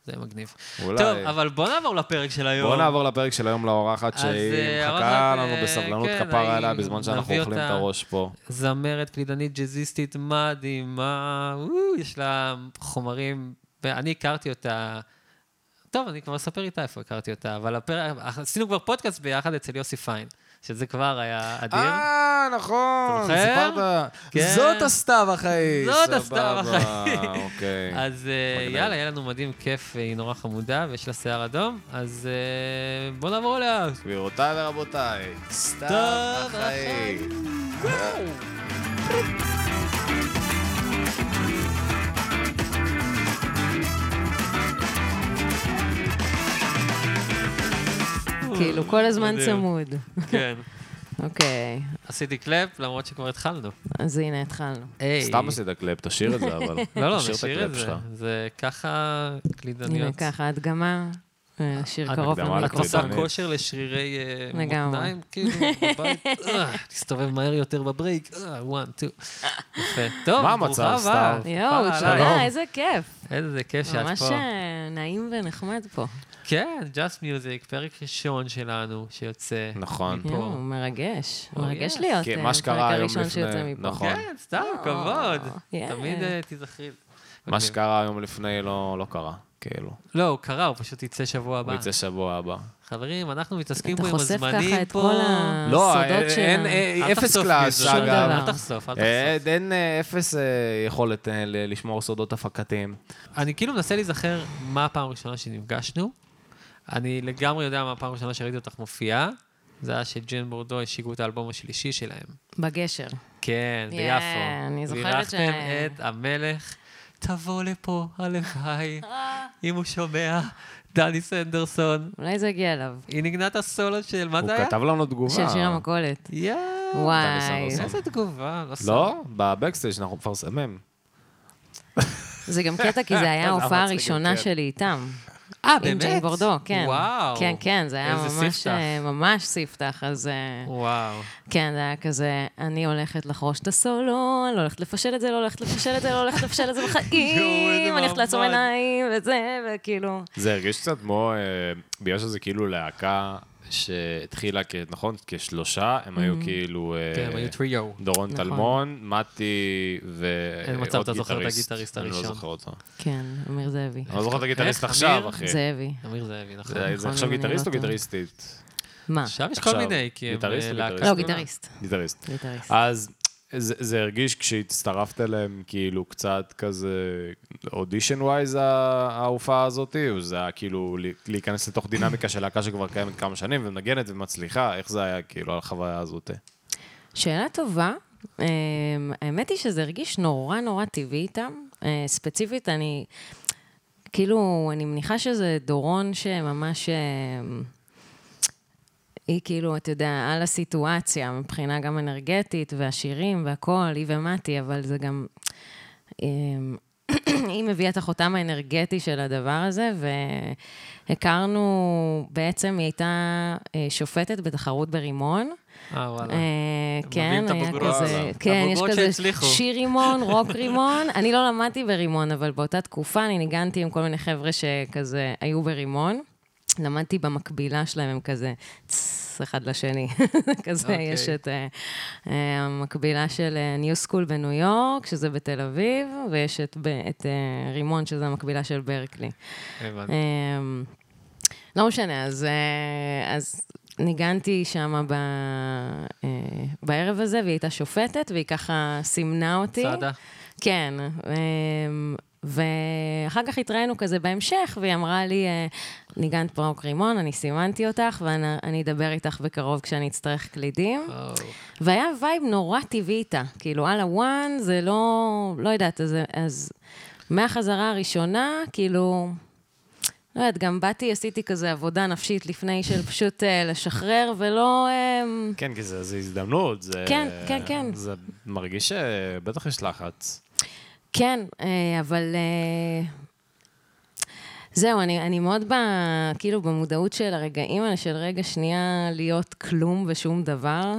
[SPEAKER 2] זה מגניב.
[SPEAKER 1] אולי.
[SPEAKER 2] טוב, אבל בוא נעבור לפרק של היום.
[SPEAKER 1] בואו נעבור לפרק של היום לאורחת
[SPEAKER 2] אז,
[SPEAKER 1] שהיא
[SPEAKER 2] אה,
[SPEAKER 1] מחכה
[SPEAKER 2] האורחת,
[SPEAKER 1] לנו
[SPEAKER 2] אה,
[SPEAKER 1] בסבלנות
[SPEAKER 2] כן,
[SPEAKER 1] כפרה
[SPEAKER 2] היא-
[SPEAKER 1] עליה בזמן שאנחנו
[SPEAKER 2] נביא
[SPEAKER 1] אוכלים את
[SPEAKER 2] אותה.
[SPEAKER 1] הראש פה.
[SPEAKER 2] זמרת קלידנית ג'אזיסטית מדהימה, וואו, יש לה חומרים, ואני הכרתי אותה, טוב, אני כבר אספר איתה איפה הכרתי אותה, אבל הפרק, עשינו כבר פודקאסט ביחד אצל יוסי פיין, שזה כבר היה אדיר.
[SPEAKER 1] אה, נכון,
[SPEAKER 2] אתה זוכר?
[SPEAKER 1] סיפרת.
[SPEAKER 2] כן.
[SPEAKER 1] זאת הסתיו החיים.
[SPEAKER 2] זאת הסתיו החיים.
[SPEAKER 1] אוקיי.
[SPEAKER 2] אז אה,
[SPEAKER 1] מגניב.
[SPEAKER 2] יאללה, יהיה לנו מדהים, כיף, והיא נורא חמודה, ויש לה שיער אדום, אז אה, בוא נעבור אליה.
[SPEAKER 1] גבירותיי ורבותיי, סתיו
[SPEAKER 2] סתיו
[SPEAKER 1] החיים.
[SPEAKER 3] כאילו, כל הזמן צמוד.
[SPEAKER 2] כן.
[SPEAKER 3] אוקיי,
[SPEAKER 2] עשיתי קלאפ, למרות שכבר התחלנו.
[SPEAKER 3] אז הנה התחלנו.
[SPEAKER 2] היי.
[SPEAKER 1] סתם עשית קלאפ, תשאיר את זה, אבל.
[SPEAKER 2] לא, לא,
[SPEAKER 1] תשאיר
[SPEAKER 2] נשאיר את
[SPEAKER 1] הקלאפ
[SPEAKER 2] זה.
[SPEAKER 1] שלך.
[SPEAKER 2] זה ככה קלידניות.
[SPEAKER 3] הנה ככה, הדגמה, אה, שיר
[SPEAKER 2] את
[SPEAKER 3] קרוב
[SPEAKER 1] הקדמה
[SPEAKER 2] את עושה
[SPEAKER 3] למיקרופון.
[SPEAKER 1] לקלידנית.
[SPEAKER 2] כושר לשרירי אה,
[SPEAKER 3] לגמרי.
[SPEAKER 2] מותניים, כאילו, בבית. אה, תסתובב מהר יותר בברייק. אה, one, two. יפה. טוב,
[SPEAKER 1] מה המצב,
[SPEAKER 2] ברוכה הבאה.
[SPEAKER 1] סתיו?
[SPEAKER 3] יואו,
[SPEAKER 2] וואלה,
[SPEAKER 3] תודה, איזה כיף.
[SPEAKER 2] איזה כיף אה, שאת
[SPEAKER 3] ממש
[SPEAKER 2] פה.
[SPEAKER 3] אה, נעים ונחמד פה.
[SPEAKER 2] כן, Just Music, פרק ראשון שלנו שיוצא.
[SPEAKER 1] נכון.
[SPEAKER 2] פה.
[SPEAKER 3] יואו, מרגש.
[SPEAKER 2] Oh,
[SPEAKER 3] מרגש
[SPEAKER 2] yes.
[SPEAKER 3] להיות
[SPEAKER 1] כן,
[SPEAKER 3] אה,
[SPEAKER 1] מה
[SPEAKER 3] הפרק
[SPEAKER 1] שקרה היום
[SPEAKER 3] הראשון
[SPEAKER 1] לפני-
[SPEAKER 3] שיוצא מפה.
[SPEAKER 1] נכון.
[SPEAKER 2] כן, סתם,
[SPEAKER 3] אה,
[SPEAKER 2] כבוד. תמיד
[SPEAKER 3] yeah.
[SPEAKER 2] אה, תיזכרי.
[SPEAKER 1] מה
[SPEAKER 2] אוקיי.
[SPEAKER 1] שקרה היום לפני לא לא קרה, כאילו.
[SPEAKER 2] לא, הוא קרא, הוא פשוט יצא שבוע
[SPEAKER 1] הוא
[SPEAKER 2] הבא.
[SPEAKER 1] יצא שבוע הבא.
[SPEAKER 2] חברים, אנחנו מתעסקים
[SPEAKER 3] אתה
[SPEAKER 2] פה עם
[SPEAKER 3] חושף ככה
[SPEAKER 2] הזמנים
[SPEAKER 3] את
[SPEAKER 2] פה.
[SPEAKER 3] כל
[SPEAKER 1] לא,
[SPEAKER 3] הסודות
[SPEAKER 1] אה,
[SPEAKER 3] של... ה-
[SPEAKER 1] אין, אה,
[SPEAKER 2] אל
[SPEAKER 1] אפס
[SPEAKER 2] תחשוף
[SPEAKER 1] קלאס,
[SPEAKER 2] מזה,
[SPEAKER 3] שום
[SPEAKER 1] אגב.
[SPEAKER 3] דבר.
[SPEAKER 2] לא, אל תחשוף, אל
[SPEAKER 1] אה,
[SPEAKER 2] תחשוף.
[SPEAKER 1] אין אה, אפס אה, יכולת אה, ל- לשמור סודות הפקתיים.
[SPEAKER 2] אני כאילו מנסה להיזכר מה הפעם הראשונה שנפגשנו. אני לגמרי יודע מה הפעם הראשונה שראיתי אותך מופיעה. זה היה שג'ן בורדו השיגו את האלבום השלישי שלהם.
[SPEAKER 3] בגשר.
[SPEAKER 2] כן,
[SPEAKER 3] Yeah,
[SPEAKER 2] ביפו.
[SPEAKER 3] אני זוכרת
[SPEAKER 2] בירכתם
[SPEAKER 3] ש-
[SPEAKER 2] את המלך, תבוא לפה, הלוואי, אם הוא שומע, דני סנדרסון.
[SPEAKER 3] אולי זה הגיע אליו.
[SPEAKER 2] היא ניגנה את הסולו של, מה
[SPEAKER 1] הוא
[SPEAKER 2] זה היה?
[SPEAKER 1] כתב לנו תגובה.
[SPEAKER 3] של שיר המכולת.
[SPEAKER 2] יואו,
[SPEAKER 3] וואי.
[SPEAKER 1] סנדרסון.
[SPEAKER 2] איזה תגובה, לא סתם.
[SPEAKER 1] לא, בבקסטייג' אנחנו מפרסמים.
[SPEAKER 3] זה גם קטע, כי זה היה
[SPEAKER 1] למה
[SPEAKER 3] ההופעה
[SPEAKER 1] צריך
[SPEAKER 3] הראשונה
[SPEAKER 1] לקרוא?
[SPEAKER 3] שלי איתם.
[SPEAKER 2] כן. אה,
[SPEAKER 3] עם
[SPEAKER 2] באמת?
[SPEAKER 3] ג'יי בורדו, כן.
[SPEAKER 2] וואו.
[SPEAKER 3] כן, כן, זה היה
[SPEAKER 2] איזה
[SPEAKER 3] ממש,
[SPEAKER 2] ספתח.
[SPEAKER 3] אה, ממש ספתח, אז... אה,
[SPEAKER 2] וואו.
[SPEAKER 3] כן, זה היה כזה, אני הולכת לחרוש את הסולו, אני לא הולכת לפשל את זה, לא הולכת לפשל את זה, לא הולכת לפשל את זה
[SPEAKER 2] יואו, איזה
[SPEAKER 3] בחיים, אני הולכת לעצום
[SPEAKER 2] מעמד.
[SPEAKER 3] עיניים וזה, וכאילו...
[SPEAKER 1] זה הרגיש קצת כמו, אה, בגלל שזה כאילו להקה שהתחילה, כ- נכון? כשלושה, הם היו כאילו... אה,
[SPEAKER 2] כן, הם היו טריו.
[SPEAKER 1] דורון
[SPEAKER 3] נכון.
[SPEAKER 1] טלמון, מתי ועוד גיטריסט.
[SPEAKER 2] אין מצב, אתה זוכר את הגיטריסט
[SPEAKER 1] אני
[SPEAKER 2] הראשון.
[SPEAKER 1] לא זוכר אותו.
[SPEAKER 3] כן, אמיר זאבי.
[SPEAKER 1] אני לא זוכר את הגיטריסט
[SPEAKER 2] איך,
[SPEAKER 1] עכשיו,
[SPEAKER 2] אמיר?
[SPEAKER 1] אחי.
[SPEAKER 3] זאבי.
[SPEAKER 2] אמיר זאבי, נכון.
[SPEAKER 1] זה זה
[SPEAKER 3] נכון,
[SPEAKER 1] עכשיו
[SPEAKER 3] אם אני לא
[SPEAKER 1] גיטריסט או
[SPEAKER 3] טועה.
[SPEAKER 1] גיטריסטית?
[SPEAKER 3] מה?
[SPEAKER 2] עכשיו יש כל
[SPEAKER 1] עכשיו,
[SPEAKER 2] מיני, כי הם
[SPEAKER 1] גיטריסט
[SPEAKER 2] אה,
[SPEAKER 1] או
[SPEAKER 3] לא,
[SPEAKER 1] גיטריסט?
[SPEAKER 2] להקה. גדולה.
[SPEAKER 3] גיטריסט.
[SPEAKER 1] גיטריסט.
[SPEAKER 3] גיטריסט.
[SPEAKER 1] אז זה, זה הרגיש כשהצטרפת אליהם, כאילו קצת כזה אודישן ווייז ההופעה הזאת, או זה היה כאילו לי- להיכנס לתוך דינמיקה של להקה שכבר קיימת כמה שנים ומנגנת ומצליחה, איך זה היה כאילו על החוויה הזאת?
[SPEAKER 3] שאלה טובה. אמ, האמת היא שזה הרגיש נורא נורא טבעי איתם. אה, ספציפית, אני... כאילו, אני מניחה שזה דורון שממש... אמ, היא כאילו, אתה יודע, על הסיטואציה, מבחינה גם אנרגטית, והשירים והכול, היא ומתי, אבל זה גם... אמ, היא מביאה את החותם האנרגטי של הדבר הזה, והכרנו, בעצם היא הייתה אה, שופטת בתחרות ברימון.
[SPEAKER 2] אה, וואלה.
[SPEAKER 3] אה, כן,
[SPEAKER 2] מביאים את
[SPEAKER 3] היה
[SPEAKER 2] הבוגרות.
[SPEAKER 3] כזה,
[SPEAKER 2] וואלה.
[SPEAKER 3] כן, יש
[SPEAKER 2] הבוגרות
[SPEAKER 3] כזה
[SPEAKER 2] שהצליחו.
[SPEAKER 3] שיר רימון, רוק רימון. אני לא למדתי ברימון, אבל באותה תקופה אני ניגנתי עם כל מיני חבר'ה שכזה היו ברימון. למדתי במקבילה שלהם, הם כזה צס, אחד לשני. כזה,
[SPEAKER 2] אוקיי.
[SPEAKER 3] יש את אה, אה, המקבילה של אה, ניו סקול בניו יורק, שזה בתל אביב, ויש את ב- את אה, רימון, שזה המקבילה של ברקלי. אה,
[SPEAKER 2] הבנתי.
[SPEAKER 3] אמ, לא משנה, אז, אה, אז ניגנתי שם ב, אה, בערב הזה, והיא הייתה שופטת, והיא ככה סימנה אותי.
[SPEAKER 2] צעדה.
[SPEAKER 3] כן. אמ, ואחר כך התראינו כזה בהמשך, והיא אמרה לי, אה, ניגנת פרוק רימון, אני סימנתי אותך, ואני אני אדבר איתך בקרוב כשאני אצטרך קלידים.
[SPEAKER 2] וואו.
[SPEAKER 3] והיה וייב נורא טבעי איתה. כאילו, על הוואן זה לא... לא יודעת, אז, אז מהחזרה הראשונה, כאילו... לא יודעת, גם באתי, עשיתי כזה עבודה נפשית לפני של פשוט אה, לשחרר, ולא... אה,
[SPEAKER 1] כן, כי זה, זה הזדמנות. זה,
[SPEAKER 3] כן, כן, כן.
[SPEAKER 1] זה מרגיש שבטח יש לחץ.
[SPEAKER 3] כן, אה, אבל... אה, זהו, אני, אני מאוד ב... כאילו במודעות של הרגעים האלה, של רגע שנייה להיות כלום ושום דבר,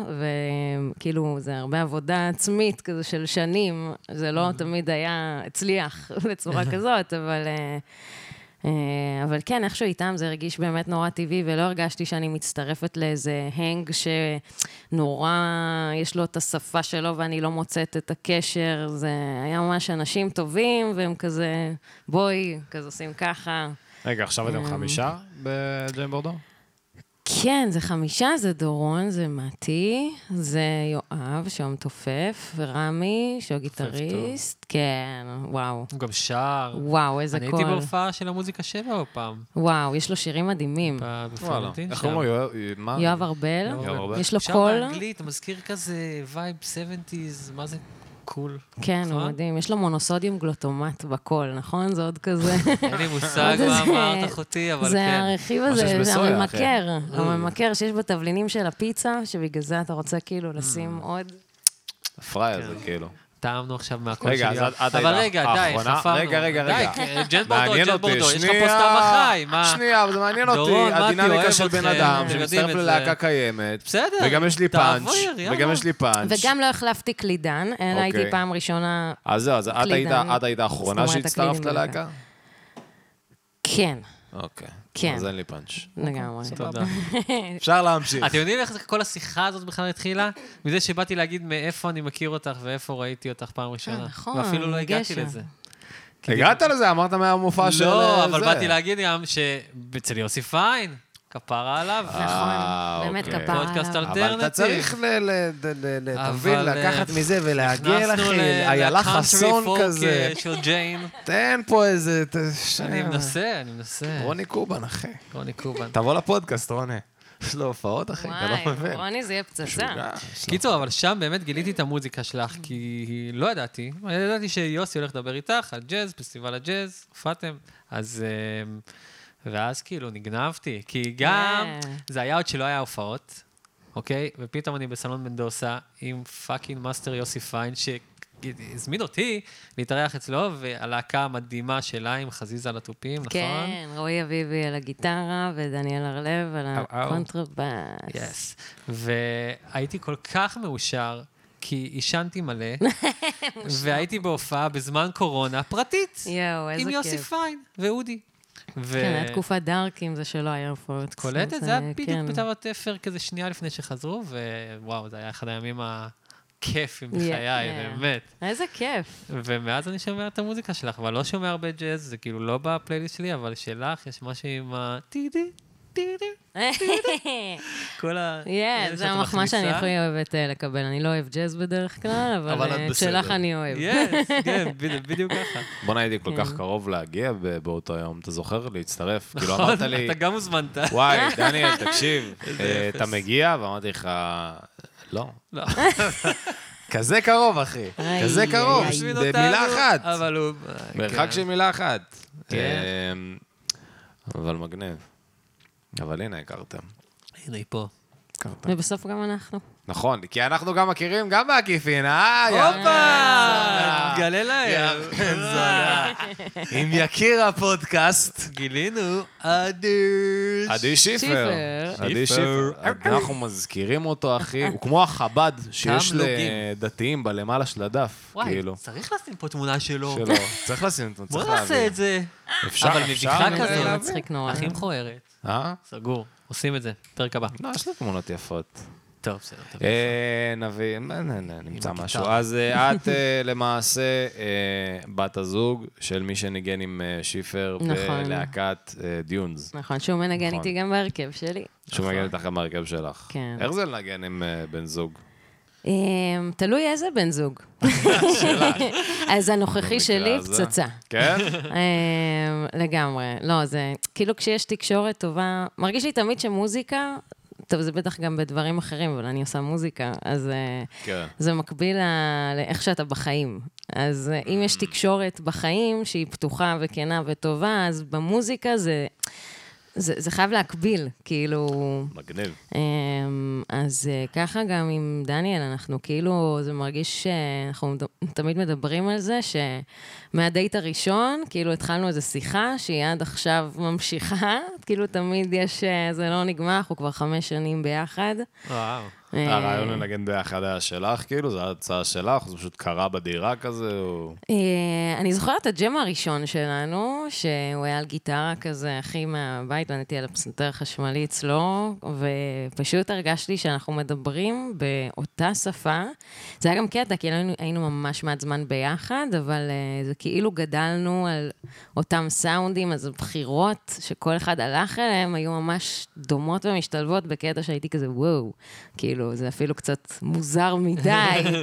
[SPEAKER 3] וכאילו זה הרבה עבודה עצמית כזה של שנים, זה לא תמיד היה הצליח בצורה כזאת, אבל... אה, אה, אבל כן, איכשהו איתם זה הרגיש באמת נורא טבעי, ולא הרגשתי שאני מצטרפת לאיזה הנג שנורא, יש לו את השפה שלו ואני לא מוצאת את הקשר. זה היה ממש אנשים טובים, והם כזה, בואי, כזה עושים ככה.
[SPEAKER 1] רגע, עכשיו אתם חמישה בג'יין בורדו?
[SPEAKER 3] כן, זה חמישה, זה דורון, זה מתי, זה יואב, שהוא המתופף, ורמי, שהוא הגיטריסט. כן, וואו.
[SPEAKER 2] הוא גם שר.
[SPEAKER 3] וואו, איזה
[SPEAKER 2] אני
[SPEAKER 3] קול.
[SPEAKER 2] הייתי בהופעה של המוזיקה 7 או פעם.
[SPEAKER 3] וואו, יש לו שירים מדהימים.
[SPEAKER 2] בפלורנטין
[SPEAKER 1] איך
[SPEAKER 2] שם.
[SPEAKER 1] קוראים לו? יואב- מה?
[SPEAKER 3] יואב ארבל,
[SPEAKER 1] יואב ארבל.
[SPEAKER 3] יש לו
[SPEAKER 2] שם
[SPEAKER 3] קול.
[SPEAKER 2] באנגלית, אתה מזכיר כזה וייב 70's, מה זה קול.
[SPEAKER 3] כן, הוא
[SPEAKER 2] נכון?
[SPEAKER 3] מדהים. יש לו מונוסודיום גלוטומט בקול, נכון? זה עוד כזה...
[SPEAKER 2] אין לי מושג
[SPEAKER 3] זה-
[SPEAKER 2] מה אמרת אחותי, אבל
[SPEAKER 3] זה
[SPEAKER 2] כן.
[SPEAKER 3] הרכיב
[SPEAKER 1] שיש
[SPEAKER 3] הזה, זה
[SPEAKER 1] בסויה,
[SPEAKER 3] הממכר. הממכר שיש בתבלינים של הפיצה, שבגלל זה אתה רוצה
[SPEAKER 2] Mm.
[SPEAKER 3] כאילו לשים עוד...
[SPEAKER 1] הפראייר זה כאילו.
[SPEAKER 2] טעמנו עכשיו מהקול
[SPEAKER 1] רגע,
[SPEAKER 2] שלי.
[SPEAKER 1] אז עד עד
[SPEAKER 2] אבל רגע, די,
[SPEAKER 1] האחרונה-
[SPEAKER 2] חפרנו.
[SPEAKER 1] רגע, רגע, רגע.
[SPEAKER 2] די, כן, ג'ן בורדו,
[SPEAKER 1] מעניין
[SPEAKER 2] ג'ן
[SPEAKER 1] אותי,
[SPEAKER 2] בורדו, יש לך פה
[SPEAKER 1] שנייה,
[SPEAKER 2] סתם החי, מה?
[SPEAKER 1] שנייה, אבל זה מעניין
[SPEAKER 2] דורון,
[SPEAKER 1] אותי,
[SPEAKER 2] מתי,
[SPEAKER 1] הדינמיקה
[SPEAKER 2] אוהב
[SPEAKER 1] של בן
[SPEAKER 2] אתכם,
[SPEAKER 1] אדם
[SPEAKER 2] אתם יודעים
[SPEAKER 1] שמצטרף
[SPEAKER 2] את זה.
[SPEAKER 1] ללהקה קיימת.
[SPEAKER 2] בסדר,
[SPEAKER 1] וגם יש לי פאנץ',
[SPEAKER 2] תעבור, יאללה.
[SPEAKER 1] וגם יש לי פאנץ'.
[SPEAKER 3] וגם לא החלפתי קלידן, אלא
[SPEAKER 1] אוקיי.
[SPEAKER 3] הייתי פעם ראשונה...
[SPEAKER 1] אז זהו, אז את
[SPEAKER 3] הקלידן.
[SPEAKER 1] היית- את היית האחרונה
[SPEAKER 3] זאת אומרת,
[SPEAKER 1] שהצטרפת
[SPEAKER 3] הקלידים
[SPEAKER 1] ללהקה?
[SPEAKER 3] כן,
[SPEAKER 1] אוקיי.
[SPEAKER 3] כן.
[SPEAKER 1] אז אין לי פאנץ'.
[SPEAKER 3] לגמרי.
[SPEAKER 2] תודה.
[SPEAKER 1] אפשר להמשיך.
[SPEAKER 2] אתם יודעים איך כל השיחה הזאת בכלל התחילה? מזה שבאתי להגיד מאיפה אני מכיר אותך ואיפה ראיתי אותך פעם ראשונה.
[SPEAKER 3] נכון,
[SPEAKER 2] ואפילו לא הגעתי
[SPEAKER 3] גשר.
[SPEAKER 2] לזה.
[SPEAKER 1] הגעת לזה, אמרת מהמופע של...
[SPEAKER 2] לא,
[SPEAKER 1] אה,
[SPEAKER 2] אבל
[SPEAKER 1] זה.
[SPEAKER 2] באתי להגיד גם שאצל יוסי פיין, כפרה עליו.
[SPEAKER 1] אה,
[SPEAKER 3] נכון, באמת
[SPEAKER 1] אוקיי.
[SPEAKER 3] כפרה עליו.
[SPEAKER 2] פודקאסט
[SPEAKER 1] אבל אתה צריך
[SPEAKER 2] אלטרנטיב.
[SPEAKER 1] ל... ל- ל- ל- ל- אתה מבין,
[SPEAKER 2] אבל, אה,
[SPEAKER 1] לקחת מזה ולעגל,
[SPEAKER 2] נכנסנו
[SPEAKER 1] אחי,
[SPEAKER 2] ל-
[SPEAKER 1] איילה
[SPEAKER 2] לקאנטרי
[SPEAKER 1] חסון
[SPEAKER 2] פולק,
[SPEAKER 1] כזה.
[SPEAKER 2] אה, של ג'יין.
[SPEAKER 1] תן פה איזה... ת-
[SPEAKER 2] אני מנסה, אני מנסה.
[SPEAKER 1] רוני קובן, אחי.
[SPEAKER 2] רוני קובן.
[SPEAKER 1] תבוא לפודקאסט, רוני. יש לו הופעות, אחי, אתה לא
[SPEAKER 3] וואי,
[SPEAKER 1] מבין. נכון?
[SPEAKER 3] רוני זה יהיה פצצה.
[SPEAKER 2] קיצור, אבל שם באמת גיליתי את המוזיקה שלך, כי לא ידעתי. ידעתי שיוסי הולך לדבר איתך על ג'אז, פסטיבל הג'אז, הופעתם. אז... אמ, ואז כאילו נגנבתי, כי גם
[SPEAKER 3] אה.
[SPEAKER 2] זה היה עוד שלא היה הופעות, אוקיי? ופתאום אני בסלון מנדוסה עם פאקינג מאסטר יוסי פיין, הזמין אותי להתארח אצלו, והלהקה המדהימה שלה עם חזיזה על התופים, נכון?
[SPEAKER 3] כן, רועי אביבי על הגיטרה ודניאל הרלב על
[SPEAKER 2] אה, אה.
[SPEAKER 3] הקונטרבאס.
[SPEAKER 2] יס. והייתי כל כך מאושר, כי עישנתי מלא, והייתי בהופעה בזמן קורונה פרטית.
[SPEAKER 3] יואו, איזה
[SPEAKER 2] עם יוסי
[SPEAKER 3] כיף.
[SPEAKER 2] פיין ואודי. ו-
[SPEAKER 3] כן, היה תקופת דארקים, זה שלא היה הופעות.
[SPEAKER 2] את קולטת?
[SPEAKER 3] אז,
[SPEAKER 2] זה היה
[SPEAKER 3] אה,
[SPEAKER 2] בדיוק
[SPEAKER 3] כן.
[SPEAKER 2] בתו התפר כזה שנייה לפני שחזרו, ווואו, זה היה אחד הימים הכיפים בחיי,
[SPEAKER 3] Yeah.
[SPEAKER 2] באמת.
[SPEAKER 3] איזה כיף.
[SPEAKER 2] ומאז אני שומע את המוזיקה שלך, אבל לא שומע הרבה ג'אז, זה כאילו לא בפלייליסט שלי, אבל שלך יש משהו עם ה... טידי, טידי, כל ה...
[SPEAKER 3] כן,
[SPEAKER 1] אה,
[SPEAKER 2] אלה
[SPEAKER 3] זה
[SPEAKER 2] שאת
[SPEAKER 3] המחמאה שאני
[SPEAKER 2] מכניסה.
[SPEAKER 3] הכי אוהבת אה, לקבל. אני לא אוהב ג'אז בדרך כלל,
[SPEAKER 1] אבל
[SPEAKER 3] אבל
[SPEAKER 1] את
[SPEAKER 3] אה, את
[SPEAKER 1] בסדר.
[SPEAKER 3] שלך אני אוהב.
[SPEAKER 2] יס, כן, בדיוק- בדיוק ככה.
[SPEAKER 1] בואנה, הייתי כל
[SPEAKER 2] כן.
[SPEAKER 1] כך קרוב להגיע ב- באותו יום, אתה זוכר? להצטרף. כאילו,
[SPEAKER 2] נכון,
[SPEAKER 1] אמרת לי,
[SPEAKER 2] אתה גם הוזמנת.
[SPEAKER 1] וואי, דניאל, תקשיב, אה, אתה מגיע? ואמרתי לך, לא.
[SPEAKER 2] לא.
[SPEAKER 1] כזה קרוב, אחי.
[SPEAKER 3] איי,
[SPEAKER 1] כזה קרוב,
[SPEAKER 3] איי,
[SPEAKER 2] הוא הזמין
[SPEAKER 1] במילה
[SPEAKER 2] אותנו,
[SPEAKER 1] אחת.
[SPEAKER 2] אבל הוא...
[SPEAKER 1] מרחק
[SPEAKER 2] כן.
[SPEAKER 1] של מילה אחת.
[SPEAKER 2] כן.
[SPEAKER 1] אמ, אבל מגניב. אבל הנה, הכרתם.
[SPEAKER 2] הנה היא פה.
[SPEAKER 3] ובסוף גם אנחנו.
[SPEAKER 1] נכון, כי אנחנו גם מכירים, גם בעקיפין, אה? יא
[SPEAKER 2] הופה! תגלה להם. כן,
[SPEAKER 1] עם יקיר הפודקאסט,
[SPEAKER 2] גילינו אדיש.
[SPEAKER 1] עדי שיפר.
[SPEAKER 3] שיפר.
[SPEAKER 1] עדי שיפר. אנחנו מזכירים אותו, אחי. הוא כמו החב"ד שיש
[SPEAKER 2] תמלוגים.
[SPEAKER 1] לדתיים בלמעלה של הדף,
[SPEAKER 2] וואי,
[SPEAKER 1] כאילו.
[SPEAKER 2] צריך לשים פה תמונה שלו.
[SPEAKER 1] שלא. צריך לשים אותו,
[SPEAKER 2] בוא
[SPEAKER 1] צריך
[SPEAKER 2] נעשה
[SPEAKER 1] להביא.
[SPEAKER 2] את זה.
[SPEAKER 1] אפשר,
[SPEAKER 2] אבל
[SPEAKER 1] אפשר.
[SPEAKER 2] מבדיחה
[SPEAKER 1] אני-
[SPEAKER 2] כזאת.
[SPEAKER 3] זה מצחיק נורא.
[SPEAKER 2] הכי מכוערת.
[SPEAKER 1] אה?
[SPEAKER 2] סגור. עושים את זה. פרק הבא.
[SPEAKER 1] לא, יש לו תמונות יפות.
[SPEAKER 2] טוב, בסדר. טוב.
[SPEAKER 1] אה, נביא, נ- נ- נ- נמצא
[SPEAKER 2] הגיטרה.
[SPEAKER 1] משהו. אז אה, את אה, למעשה אה, בת הזוג של מי שניגן עם אה, שיפר
[SPEAKER 3] נכון.
[SPEAKER 1] בלהקת אה, דיונס.
[SPEAKER 3] נכון, שהוא מנגן
[SPEAKER 1] נכון.
[SPEAKER 3] איתי גם בהרכב שלי.
[SPEAKER 1] שהוא מנגן איתך עם ההרכב שלך.
[SPEAKER 3] כן.
[SPEAKER 1] איך זה לנגן עם אה, בן זוג?
[SPEAKER 3] אמ, תלוי איזה בן זוג. אז הנוכחי שלי
[SPEAKER 1] הזה.
[SPEAKER 3] פצצה.
[SPEAKER 1] כן?
[SPEAKER 3] אמ, לגמרי. לא, זה כאילו כשיש תקשורת טובה, מרגיש לי תמיד שמוזיקה, טוב, זה בטח גם בדברים אחרים, אבל אני עושה מוזיקה, אז אה,
[SPEAKER 1] כן.
[SPEAKER 3] זה מקביל ל- לאיך שאתה בחיים. אז אה, אם יש תקשורת בחיים שהיא פתוחה וכנה וטובה, אז במוזיקה זה... זה, זה חייב להקביל, כאילו...
[SPEAKER 1] מגניב.
[SPEAKER 3] אמ, אז אה, ככה גם עם דניאל, אנחנו כאילו, זה מרגיש שאנחנו מד- תמיד מדברים על זה, שמהדייט הראשון, כאילו התחלנו איזו שיחה שהיא עד עכשיו ממשיכה, כאילו תמיד יש, אה, זה לא נגמר, אנחנו כבר חמש שנים ביחד.
[SPEAKER 2] וואו.
[SPEAKER 3] אה,
[SPEAKER 1] הרעיון לנגן ביחד היה שלך, כאילו, זו ההצעה שלך, זה פשוט קרה בדירה כזה, או...
[SPEAKER 3] אה, אני זוכרת את הג'ם הראשון שלנו, שהוא היה על גיטרה כזה, אחי מהבית, ועניתי על הפסנתר החשמלי אצלו, ופשוט הרגשתי שאנחנו מדברים באותה שפה. זה היה גם קטע, כי היינו, היינו ממש מעט זמן ביחד, אבל אה, זה כאילו גדלנו על אותם סאונדים, אז הבחירות שכל אחד הלך אליהם היו ממש דומות ומשתלבות בקטע שהייתי כזה, וואו, כאילו, זה אפילו קצת מוזר מדי,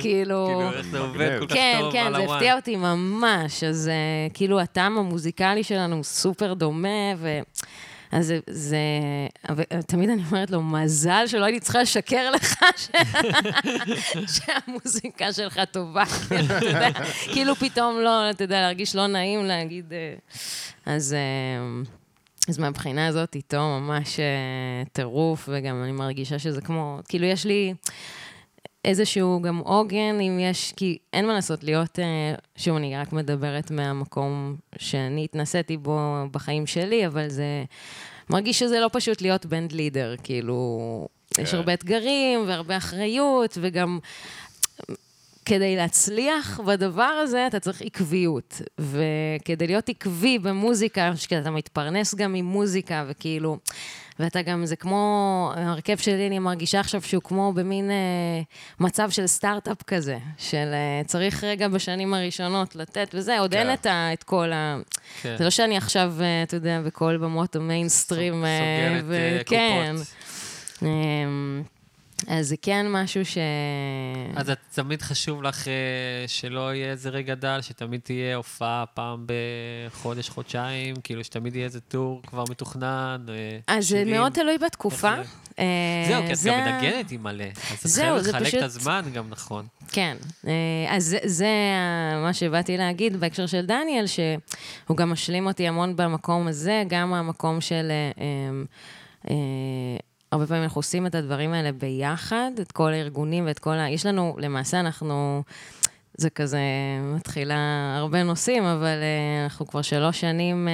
[SPEAKER 2] כאילו, איך זה עובד כל כך
[SPEAKER 3] כן,
[SPEAKER 2] טוב
[SPEAKER 3] כן,
[SPEAKER 2] על
[SPEAKER 3] זה
[SPEAKER 2] הוואן.
[SPEAKER 3] הפתיע אותי ממש. אז אה, כאילו, הטעם המוזיקלי שלנו הוא סופר דומה, ו... אז זה, זה, אבל אה, תמיד אני אומרת לו, מזל שלא הייתי צריכה לשקר לך ש... שהמוזיקה שלך טובה. כאילו, אתה יודע, כאילו פתאום לא, אתה יודע, להרגיש לא נעים להגיד... אה, אז, אה, אז מהבחינה הזאת, איתו ממש אה, טירוף, וגם אני מרגישה שזה כמו, כאילו, יש לי... איזשהו גם עוגן, אם יש, כי אין מה לעשות להיות, אה, שוב, אני רק מדברת מהמקום שאני התנסיתי בו בחיים שלי, אבל זה מרגיש שזה לא פשוט להיות בנד לידר, כאילו, יש הרבה אתגרים והרבה אחריות, וגם כדי להצליח בדבר הזה, אתה צריך עקביות. וכדי להיות עקבי במוזיקה, שאתה מתפרנס גם ממוזיקה, וכאילו... ואתה גם, זה כמו, ההרכב שלי, אני מרגישה עכשיו שהוא כמו במין אה, מצב של סטארט-אפ כזה, של אה, צריך רגע בשנים הראשונות לתת וזה, עוד אין את, ה, את כל ה...
[SPEAKER 2] כן.
[SPEAKER 3] זה לא שאני עכשיו, אה, אתה יודע, בכל במות המיינסטרים. אה,
[SPEAKER 2] סוגרת
[SPEAKER 3] ו-
[SPEAKER 2] אה,
[SPEAKER 3] כן.
[SPEAKER 2] קופות.
[SPEAKER 3] אמ, אז זה כן משהו ש...
[SPEAKER 2] אז את תמיד חשוב לך אה, שלא יהיה איזה רגע דל, שתמיד תהיה הופעה פעם בחודש, חודשיים, כאילו שתמיד יהיה איזה טור כבר מתוכנן. אה,
[SPEAKER 3] אז זה
[SPEAKER 2] שירים.
[SPEAKER 3] מאוד תלוי בתקופה.
[SPEAKER 2] איך
[SPEAKER 3] אה,
[SPEAKER 2] אוקיי. זהו, כי את
[SPEAKER 3] זה-
[SPEAKER 2] גם מנגנת עם מלא. אז את
[SPEAKER 3] זהו,
[SPEAKER 2] חייבת
[SPEAKER 3] זה
[SPEAKER 2] לחלק
[SPEAKER 3] פשוט-
[SPEAKER 2] את הזמן גם נכון.
[SPEAKER 3] כן. אה, אז זה, זה ה- מה שבאתי להגיד בהקשר של דניאל, שהוא גם משלים אותי המון במקום הזה, גם המקום של... אה, אה, אה, הרבה פעמים אנחנו עושים את הדברים האלה ביחד, את כל הארגונים ואת כל ה... יש לנו, למעשה אנחנו... זה כזה מתחילה הרבה נושאים, אבל אה, אנחנו כבר שלוש שנים אה,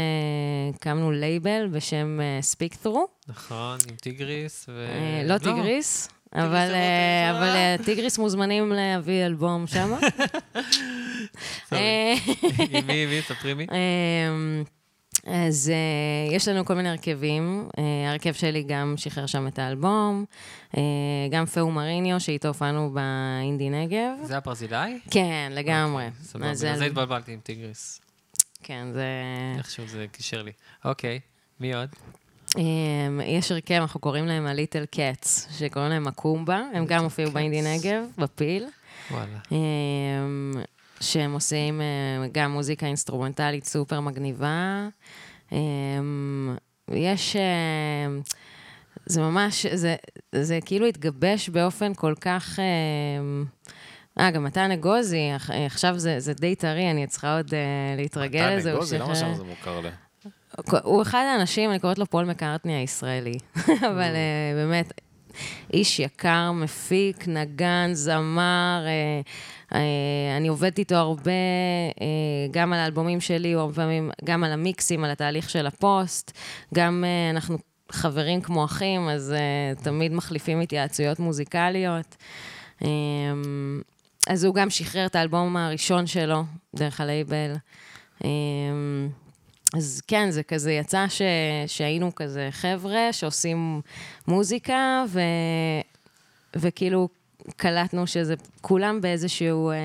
[SPEAKER 3] הקמנו לייבל בשם אה, Speak Through.
[SPEAKER 2] נכון, עם טיגריס ו...
[SPEAKER 3] אה, לא טיגריס,
[SPEAKER 2] זה
[SPEAKER 3] אבל
[SPEAKER 2] מאוד
[SPEAKER 3] אה,
[SPEAKER 2] עזרה.
[SPEAKER 3] אבל, אה, טיגריס מוזמנים להביא אלבום אה, שם.
[SPEAKER 2] עם מי, מי, ספרי מי.
[SPEAKER 3] אמ, אז אה, יש לנו כל מיני הרכבים. אה, ההרכב שלי גם שחרר שם את האלבום, אה, גם פאו מריניו, שאיתו הופענו באינדי נגב.
[SPEAKER 2] זה הברזילאי?
[SPEAKER 3] כן, לגמרי.
[SPEAKER 2] סבבה,
[SPEAKER 3] אז זה
[SPEAKER 2] בגלל זה
[SPEAKER 3] אל-
[SPEAKER 2] התבלבלתי עם טיגריס.
[SPEAKER 3] כן, זה...
[SPEAKER 2] איכשהו זה קישר לי. אוקיי, מי עוד?
[SPEAKER 3] אמ, יש הרכב, אנחנו קוראים להם הליטל קאץ, שקוראים להם הקומבה, הם גם הופיעו באינדי נגב, בפיל,
[SPEAKER 2] וואלה.
[SPEAKER 3] אמ, שהם עושים אמ, גם מוזיקה אינסטרומנטלית סופר מגניבה. אמ, יש... אמ, זה ממש, זה, זה כאילו התגבש באופן כל כך... אמ, אה, גם מתן אגוזי, עכ- עכשיו זה, זה די טרי, אני צריכה עוד אה, להתרגל לזה. הוא
[SPEAKER 1] גוזי, למה
[SPEAKER 3] שחרר-
[SPEAKER 1] שם זה מוכר לה?
[SPEAKER 3] הוא אחד האנשים, אני קוראת לו פול מקארטני הישראלי. אבל אה, באמת, איש יקר, מפיק, נגן, זמר. אה, אה, אני עובדת איתו הרבה, אה, גם על האלבומים שלי, הוא הרבה פעמים, גם על המיקסים, על התהליך של הפוסט. גם אה, אנחנו חברים כמו אחים, אז אה, תמיד מחליפים התייעצויות מוזיקליות. אה, אז הוא גם שחרר את האלבום הראשון שלו, דרך הלייבל. אה, אז כן, זה כזה יצא ש... שהיינו כזה חבר'ה שעושים מוזיקה, ו... וכאילו קלטנו שזה כולם באיזשהו אה,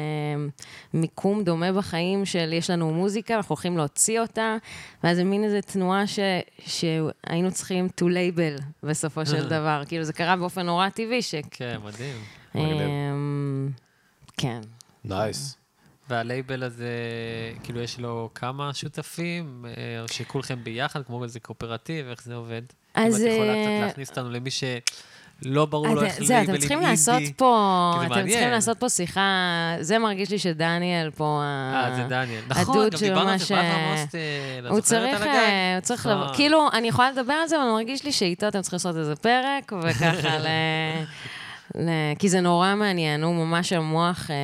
[SPEAKER 3] מיקום דומה בחיים של יש לנו מוזיקה, אנחנו הולכים להוציא אותה, ואז זה מין איזו תנועה ש... שהיינו צריכים to label בסופו של דבר. כאילו, זה קרה באופן נורא טבעי, ש...
[SPEAKER 2] כן, מדהים.
[SPEAKER 1] מגניב.
[SPEAKER 3] אמ, כן.
[SPEAKER 1] נייס.
[SPEAKER 2] והלייבל הזה, כאילו, יש לו כמה שותפים, אה, או שכולכם ביחד, כמו איזה קואופרטיב, איך זה עובד?
[SPEAKER 3] אז,
[SPEAKER 2] אם את יכולה
[SPEAKER 3] אה,
[SPEAKER 2] קצת להכניס אותנו למי שלא ברור לו
[SPEAKER 3] אז
[SPEAKER 2] איך לייבלים
[SPEAKER 3] זהו,
[SPEAKER 2] אינדי.
[SPEAKER 3] אתם צריכים לעשות פה,
[SPEAKER 2] כי זה
[SPEAKER 3] אתם
[SPEAKER 2] מעניין.
[SPEAKER 3] צריכים לעשות פה שיחה, זה מרגיש לי שדניאל פה... ה-
[SPEAKER 2] אה, זה דניאל. נכון,
[SPEAKER 3] הדוד
[SPEAKER 2] גם דיברנו על
[SPEAKER 3] שממש,
[SPEAKER 2] זה באברהם
[SPEAKER 3] אה,
[SPEAKER 2] הוסטל,
[SPEAKER 3] הוא
[SPEAKER 2] את זוכרת
[SPEAKER 3] צריך,
[SPEAKER 2] על
[SPEAKER 3] אה,
[SPEAKER 2] הגן?
[SPEAKER 3] הוא צריך
[SPEAKER 2] נכון.
[SPEAKER 3] לבוא, כאילו, אני יכולה לדבר על זה, אבל מרגיש לי שאיתו אתם צריכים לעשות איזה פרק, וככה ל... ל- כי זה נורא מעניין, הוא ממש המוח, אה,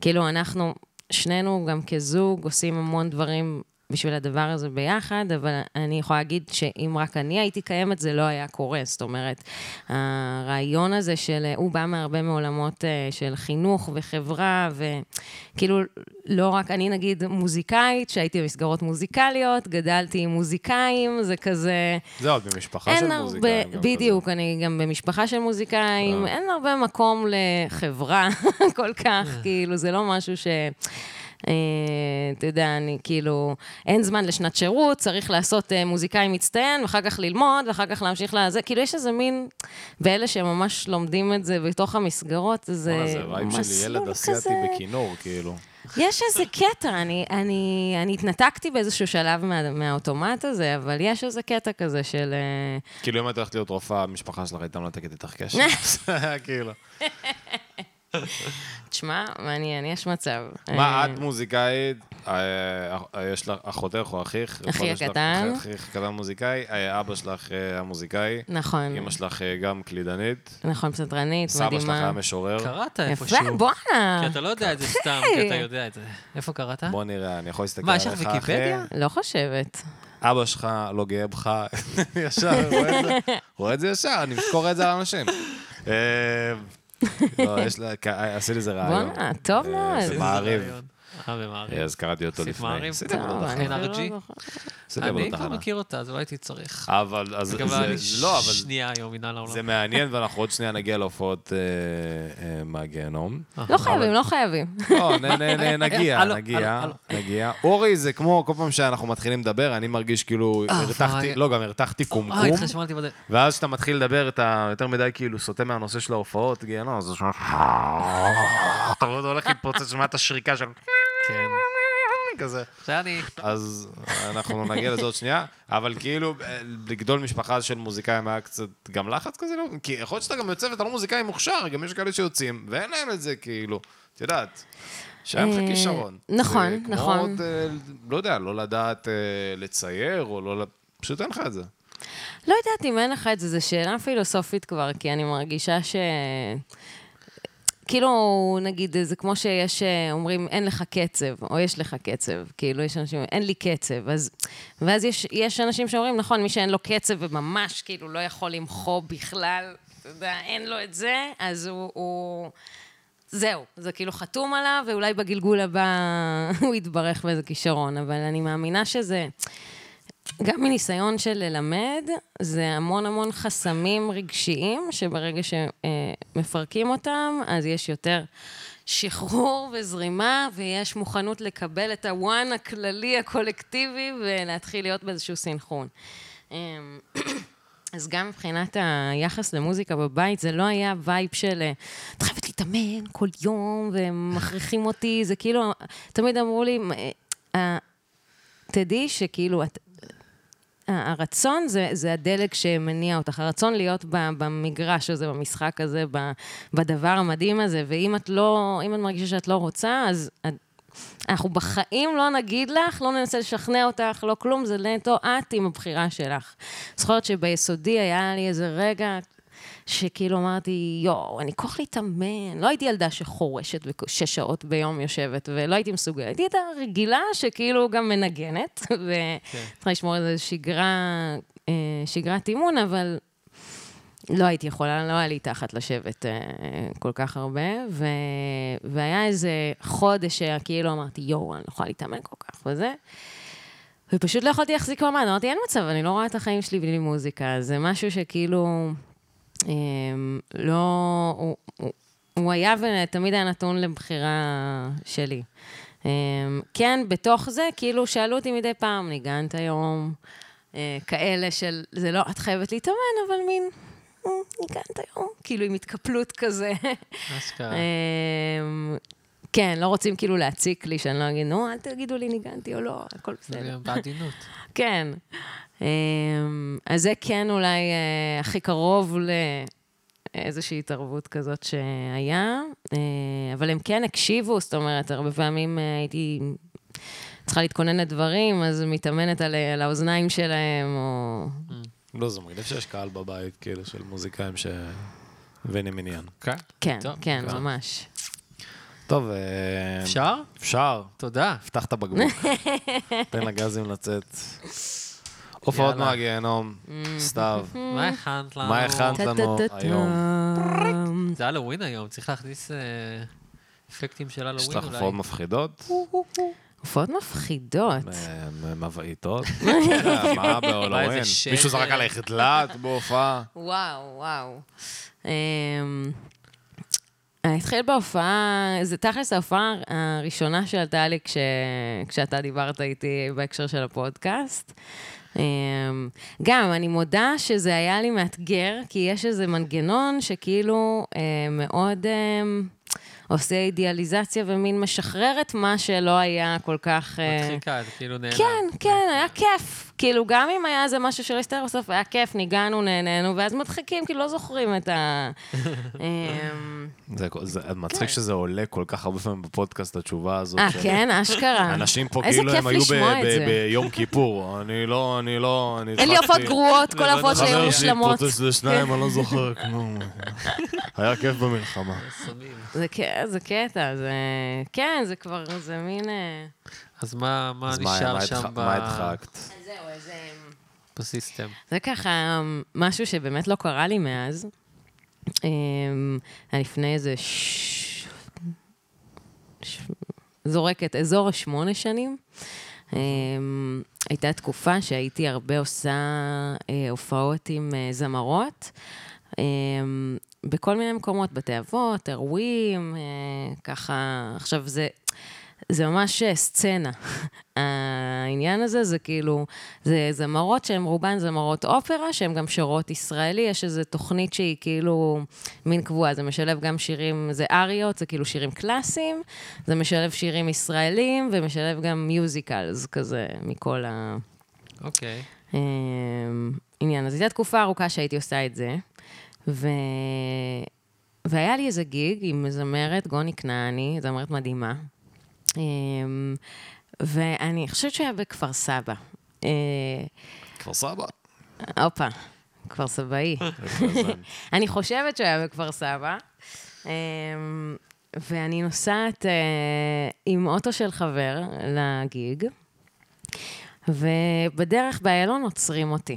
[SPEAKER 3] כאילו, אנחנו, שנינו גם כזוג עושים המון דברים בשביל הדבר הזה ביחד, אבל אני יכולה להגיד שאם רק אני הייתי קיימת, זה לא היה קורה. זאת אומרת, הרעיון הזה של, אה, הוא בא מהרבה מעולמות אה, של חינוך וחברה, וכאילו, לא רק, אני נגיד מוזיקאית, שהייתי במסגרות מוזיקליות, גדלתי עם מוזיקאים, זה כזה...
[SPEAKER 1] זה עוד במשפחה של
[SPEAKER 3] אין הרבה,
[SPEAKER 1] מוזיקאים. גם
[SPEAKER 3] בדיוק, אני גם במשפחה של מוזיקאים,
[SPEAKER 1] אה.
[SPEAKER 3] אין הרבה מקום לחברה כל כך, כאילו, זה לא משהו ש... אה, אתה יודע, אני כאילו, אין זמן לשנת שירות, צריך לעשות אה, מוזיקאי מצטיין, ואחר כך ללמוד, ואחר כך להמשיך לזה. כאילו, יש איזה מין, באלה שממש לומדים את זה בתוך המסגרות, זה
[SPEAKER 1] כזה. בואנה, זה וייב של ילד
[SPEAKER 3] מסלול
[SPEAKER 1] אסיאתי
[SPEAKER 3] כזה.
[SPEAKER 1] בכינור, כאילו.
[SPEAKER 3] יש איזה קטע, אני, אני, אני התנתקתי באיזשהו שלב מה, מהאוטומט הזה, אבל יש איזה קטע כזה של... אה,
[SPEAKER 1] כאילו, אם את הולכת להיות רופאה, המשפחה שלך הייתה מנתקת איתך קשר. כאילו.
[SPEAKER 3] תשמע, מעניין, יש מצב.
[SPEAKER 1] מה,
[SPEAKER 3] אה,
[SPEAKER 1] את מוזיקאית, אה, אה, יש לך אחותך או אחיך?
[SPEAKER 3] אחי
[SPEAKER 1] אבא שלך-
[SPEAKER 3] הקטן.
[SPEAKER 1] אחיך הקטן מוזיקאי, אה, אבא שלך אה, המוזיקאי,
[SPEAKER 3] נכון,
[SPEAKER 1] אמא שלך אה, גם קלידנית,
[SPEAKER 3] נכון, פסנתרנית,
[SPEAKER 1] סבא שלך היה
[SPEAKER 3] מדהימה.
[SPEAKER 1] משורר.
[SPEAKER 2] קראת
[SPEAKER 3] יפה,
[SPEAKER 2] איפשהו.
[SPEAKER 3] בואנה.
[SPEAKER 2] כי אתה לא יודע את זה סתם, כי אתה יודע את זה. איפה קראת?
[SPEAKER 1] בוא נראה, אני יכול להסתכל
[SPEAKER 2] מה,
[SPEAKER 1] עליך
[SPEAKER 2] יש לך
[SPEAKER 1] אחרי.
[SPEAKER 2] ויקיפדיה?
[SPEAKER 3] לא חושבת.
[SPEAKER 1] אבא שלך לא גאה בך, ישר, רואה את זה- רואה את זה ישר, אני קורא את זה על אנשים. אה, לא, יש לה, כ- עשי לי איזה רעיון.
[SPEAKER 3] בואנה, טוב
[SPEAKER 1] אה,
[SPEAKER 3] מאוד.
[SPEAKER 1] זה מעריב.
[SPEAKER 2] אה, במעריב.
[SPEAKER 1] אה, אז קראתי אותו
[SPEAKER 2] עשית
[SPEAKER 1] לפני.
[SPEAKER 2] מעריב?
[SPEAKER 1] עשיתי
[SPEAKER 3] טוב,
[SPEAKER 1] עבודה
[SPEAKER 3] אני
[SPEAKER 1] תחנה.
[SPEAKER 3] אפילו לא
[SPEAKER 2] NRG?
[SPEAKER 3] זוכרת.
[SPEAKER 1] עשיתי
[SPEAKER 2] אני
[SPEAKER 1] עבודה
[SPEAKER 2] כבר
[SPEAKER 1] תחנה.
[SPEAKER 2] מכיר אותה, אז לא הייתי צריך.
[SPEAKER 1] אבל, אז,
[SPEAKER 2] גם
[SPEAKER 1] זה-
[SPEAKER 2] אני
[SPEAKER 1] זה- לא, אבל
[SPEAKER 2] שנייה היום מן העולם.
[SPEAKER 1] זה מעניין, ואנחנו עוד שנייה נגיע להופעות אה, אה, אה, מהגיהנום.
[SPEAKER 3] לא חייבים, לא חייבים.
[SPEAKER 1] לא, נ- נ- נ- נגיע,
[SPEAKER 2] הלו,
[SPEAKER 1] נגיע,
[SPEAKER 2] הלו, הלו.
[SPEAKER 1] נגיע. אורי, זה כמו כל פעם שאנחנו מתחילים לדבר, אני מרגיש כאילו הרתחתי,
[SPEAKER 2] וואי.
[SPEAKER 1] לא, גם הרתחתי
[SPEAKER 2] אה,
[SPEAKER 1] קומקום,
[SPEAKER 2] התחשמלתי בזה.
[SPEAKER 1] ואז כשאתה מתחיל לדבר, אתה יותר מדי כאילו סוטה מהנושא של ההופעות, גיהנום, אז זה שומע... אתה עוד הולך להתפוצץ, שומע את השריקה של...
[SPEAKER 2] כן.
[SPEAKER 1] כזה.
[SPEAKER 2] עכשיו אני...
[SPEAKER 1] אז אנחנו לא נגיע לזה עוד שנייה, אבל כאילו, אה, לגדול משפחה של מוזיקאים היה קצת גם לחץ כזה, לא? כי יכול להיות שאתה גם יוצא ואתה לא מוזיקאי מוכשר, גם יש כאלה שיוצאים, ואין להם את זה, כאילו, את יודעת, שהיה לך
[SPEAKER 3] אה,
[SPEAKER 1] כישרון.
[SPEAKER 3] נכון,
[SPEAKER 1] זה
[SPEAKER 3] נכון.
[SPEAKER 1] כמו עוד, אה, לא יודע, לא לדעת אה, לצייר, או לא... ל- פשוט אין לך את זה.
[SPEAKER 3] לא יודעת אם אין לך את זה, זו שאלה פילוסופית כבר, כי אני מרגישה ש... כאילו, נגיד, זה כמו שיש, אה, אומרים, אין לך קצב, או יש לך קצב. כאילו, יש אנשים, אין לי קצב. אז, ואז יש, יש אנשים שאומרים, נכון, מי שאין לו קצב וממש, כאילו, לא יכול למחוא בכלל, אתה יודע, אין לו את זה, אז הוא... הוא... זהו, זה כאילו חתום עליו, ואולי בגלגול הבא הוא יתברך באיזה כישרון, אבל אני מאמינה שזה... גם מניסיון של ללמד, זה המון המון חסמים רגשיים, שברגע שמפרקים אותם, אז יש יותר שחרור וזרימה, ויש מוכנות לקבל את הוואן הכללי, הקולקטיבי, ולהתחיל להיות באיזשהו סינכרון. אמ, אז גם מבחינת היחס למוזיקה בבית, זה לא היה וייב של אה, את חייבת להתאמן כל יום, ומכריחים אותי, זה כאילו, תמיד אמרו לי, "אה, אה, תדעי שכאילו, את, הרצון זה, זה הדלק שמניע אותך, הרצון להיות ב, במגרש הזה, במשחק הזה, ב, בדבר המדהים הזה, ואם את לא, אם את מרגישה שאת לא רוצה, אז את- אנחנו בחיים לא נגיד לך, לא ננסה לשכנע אותך, לא כלום, זה נטו את עם הבחירה שלך. זוכרת שביסודי היה לי איזה רגע שכאילו אמרתי, יואו, אני כוח להתאמן. לא הייתי ילדה שחורשת ושש שעות ביום יושבת, ולא הייתי מסוגלת. הייתי ילדה רגילה שכאילו גם מנגנת, וצריכה לשמור על איזו שגרה, אה, שגרת אימון, אבל לא הייתי יכולה, לא היה לי תחת לשבת אה, כל כך הרבה, ו... והיה איזה חודש שכאילו אמרתי, יואו, אני לא יכולה להתאמן כל כך וזה. ופשוט לא יכולתי להחזיק מעמד, אמרתי, אין מצב, אני לא רואה את החיים שלי בלי מוזיקה. זה משהו שכאילו, אה, לא... הוא, הוא, הוא היה ותמיד היה נתון לבחירה שלי. אה, כן, בתוך זה, כאילו, שאלו אותי מדי פעם, ניגנת היום? אה, כאלה של, זה לא, את חייבת להתאמן, אבל מין, "אה, ניגנת היום, כאילו עם התקפלות כזה.
[SPEAKER 2] אשכרה.
[SPEAKER 3] אה, אמ, כן, לא רוצים כאילו להציק לי, שאני לא אגיד, נו, אל תגידו לי ניגנתי או לא, הכל בסדר.
[SPEAKER 2] בעדינות.
[SPEAKER 3] כן. אמ, אז זה כן אולי אה, הכי קרוב לאיזושהי התערבות כזאת שהיה, אה, אבל הם כן הקשיבו, זאת אומרת, הרבה פעמים אה, הייתי צריכה להתכונן לדברים, אז מתאמנת על, על האוזניים שלהם, או...
[SPEAKER 1] לא, זה מרגיש שיש קהל בבית, כאילו, של מוזיקאים ש... ואין עם עניין.
[SPEAKER 2] כן?
[SPEAKER 3] כן,
[SPEAKER 2] טוב,
[SPEAKER 3] כן,
[SPEAKER 2] טוב.
[SPEAKER 3] ממש.
[SPEAKER 1] טוב, אה,
[SPEAKER 2] אפשר?
[SPEAKER 1] אפשר.
[SPEAKER 2] תודה.
[SPEAKER 1] פתח את הבקבוק. תן לגזים לצאת. הופעות
[SPEAKER 2] יאללה.
[SPEAKER 1] מהגיהנום,
[SPEAKER 3] Mm.
[SPEAKER 1] סתיו.
[SPEAKER 3] אה.
[SPEAKER 2] מה הכנת לנו?
[SPEAKER 1] מה הכנת לנו
[SPEAKER 3] טה-טה-טה-טה.
[SPEAKER 1] היום?
[SPEAKER 2] זה הלואוין היום, צריך להכניס אה, אפקטים של
[SPEAKER 1] יש
[SPEAKER 2] הלואוין
[SPEAKER 1] לך הופעות
[SPEAKER 2] אולי.
[SPEAKER 1] מפחידות?
[SPEAKER 3] הופעות מפחידות.
[SPEAKER 1] אה, מבעיטות? אה, מה
[SPEAKER 2] בא איזה
[SPEAKER 1] בעולמין?
[SPEAKER 2] שד.
[SPEAKER 1] מישהו זרק עלייך דלת בהופעה?
[SPEAKER 3] וואו, וואו. אמ, אני אתחיל בהופעה, זה תכלס ההופעה הראשונה שעלתה לי כש, כשאתה דיברת איתי בהקשר של הפודקאסט. אמ, גם, אני מודה שזה היה לי מאתגר, כי יש איזה מנגנון שכאילו אה, מאוד אמ, עושה אידיאליזציה ומין משחרר את מה שלא היה כל כך... אה,
[SPEAKER 2] מצחיקה, זה כאילו נעלם.
[SPEAKER 3] כן, כן, היה כיף. כאילו, גם אם היה איזה משהו שלא הסתדר בסוף, היה כיף, ניגענו, נהנינו, ואז מדחיקים, כאילו, לא זוכרים את ה... אמ,
[SPEAKER 1] זה כל- זה מצחיק שזה עולה כל כך הרבה פעמים בפודקאסט, התשובה הזאת.
[SPEAKER 3] אה,
[SPEAKER 1] של-
[SPEAKER 3] כן, אשכרה.
[SPEAKER 1] אנשים פה
[SPEAKER 3] איזה
[SPEAKER 1] כאילו
[SPEAKER 3] כיף
[SPEAKER 1] הם היו ב-
[SPEAKER 3] לשמוע את
[SPEAKER 1] ב-
[SPEAKER 3] זה.
[SPEAKER 1] ביום כיפור. אני לא, אני לא, אני
[SPEAKER 3] אין לי
[SPEAKER 1] החלפתי-
[SPEAKER 3] עופות גרועות, כל העופות שלי היו
[SPEAKER 1] חבר שלי
[SPEAKER 3] מושלמות.
[SPEAKER 1] התפוצץ לשניים, אני לא זוכר כלום. היה כיף במלחמה.
[SPEAKER 2] סמים.
[SPEAKER 3] כן. זה ק- זה קטע, זה... כן, זה כבר, זה מין... אה,
[SPEAKER 2] אז מה מה
[SPEAKER 1] אז מה-
[SPEAKER 2] נשאר
[SPEAKER 1] מה
[SPEAKER 2] שם
[SPEAKER 1] הדחק-
[SPEAKER 2] ב-
[SPEAKER 1] מה הדחקת?
[SPEAKER 2] בסיסטם?
[SPEAKER 3] זה ככה משהו שבאמת לא קרה לי מאז. אמ, היה לפני איזה ש... ש... זורקת, אזור השמונה שנים. אמ, הייתה תקופה שהייתי הרבה עושה אה, הופעות עם אה, זמרות. אמ, בכל מיני מקומות, בתי אבות, אירועים, אה, ככה, עכשיו זה, זה ממש אה, סצנה. העניין הזה זה כאילו, זה זמרות שהן רובן זמרות אופרה, שהן גם שרות ישראלי, יש איזו תוכנית שהיא כאילו מין קבועה, זה משלב גם שירים, זה אריות, זה כאילו שירים קלאסיים, זה משלב שירים ישראלים, ומשלב גם מיוזיקלס כזה, מכל ה...
[SPEAKER 2] אוקיי.
[SPEAKER 3] אה, עניין. אז הייתה תקופה ארוכה שהייתי עושה את זה, ו... והיה לי איזה גיג עם זמרת, גוני כנעני, זמרת מדהימה. אה, ואני חושבת שהיה בכפר סבא. אה,
[SPEAKER 1] כפר סבא.
[SPEAKER 3] הופה, כפר סבאי. אני חושבת שהוא היה בכפר סבא. אמ, ואני נוסעת אה, עם אוטו של חבר לגיג, ובדרך באיילון עוצרים אותי.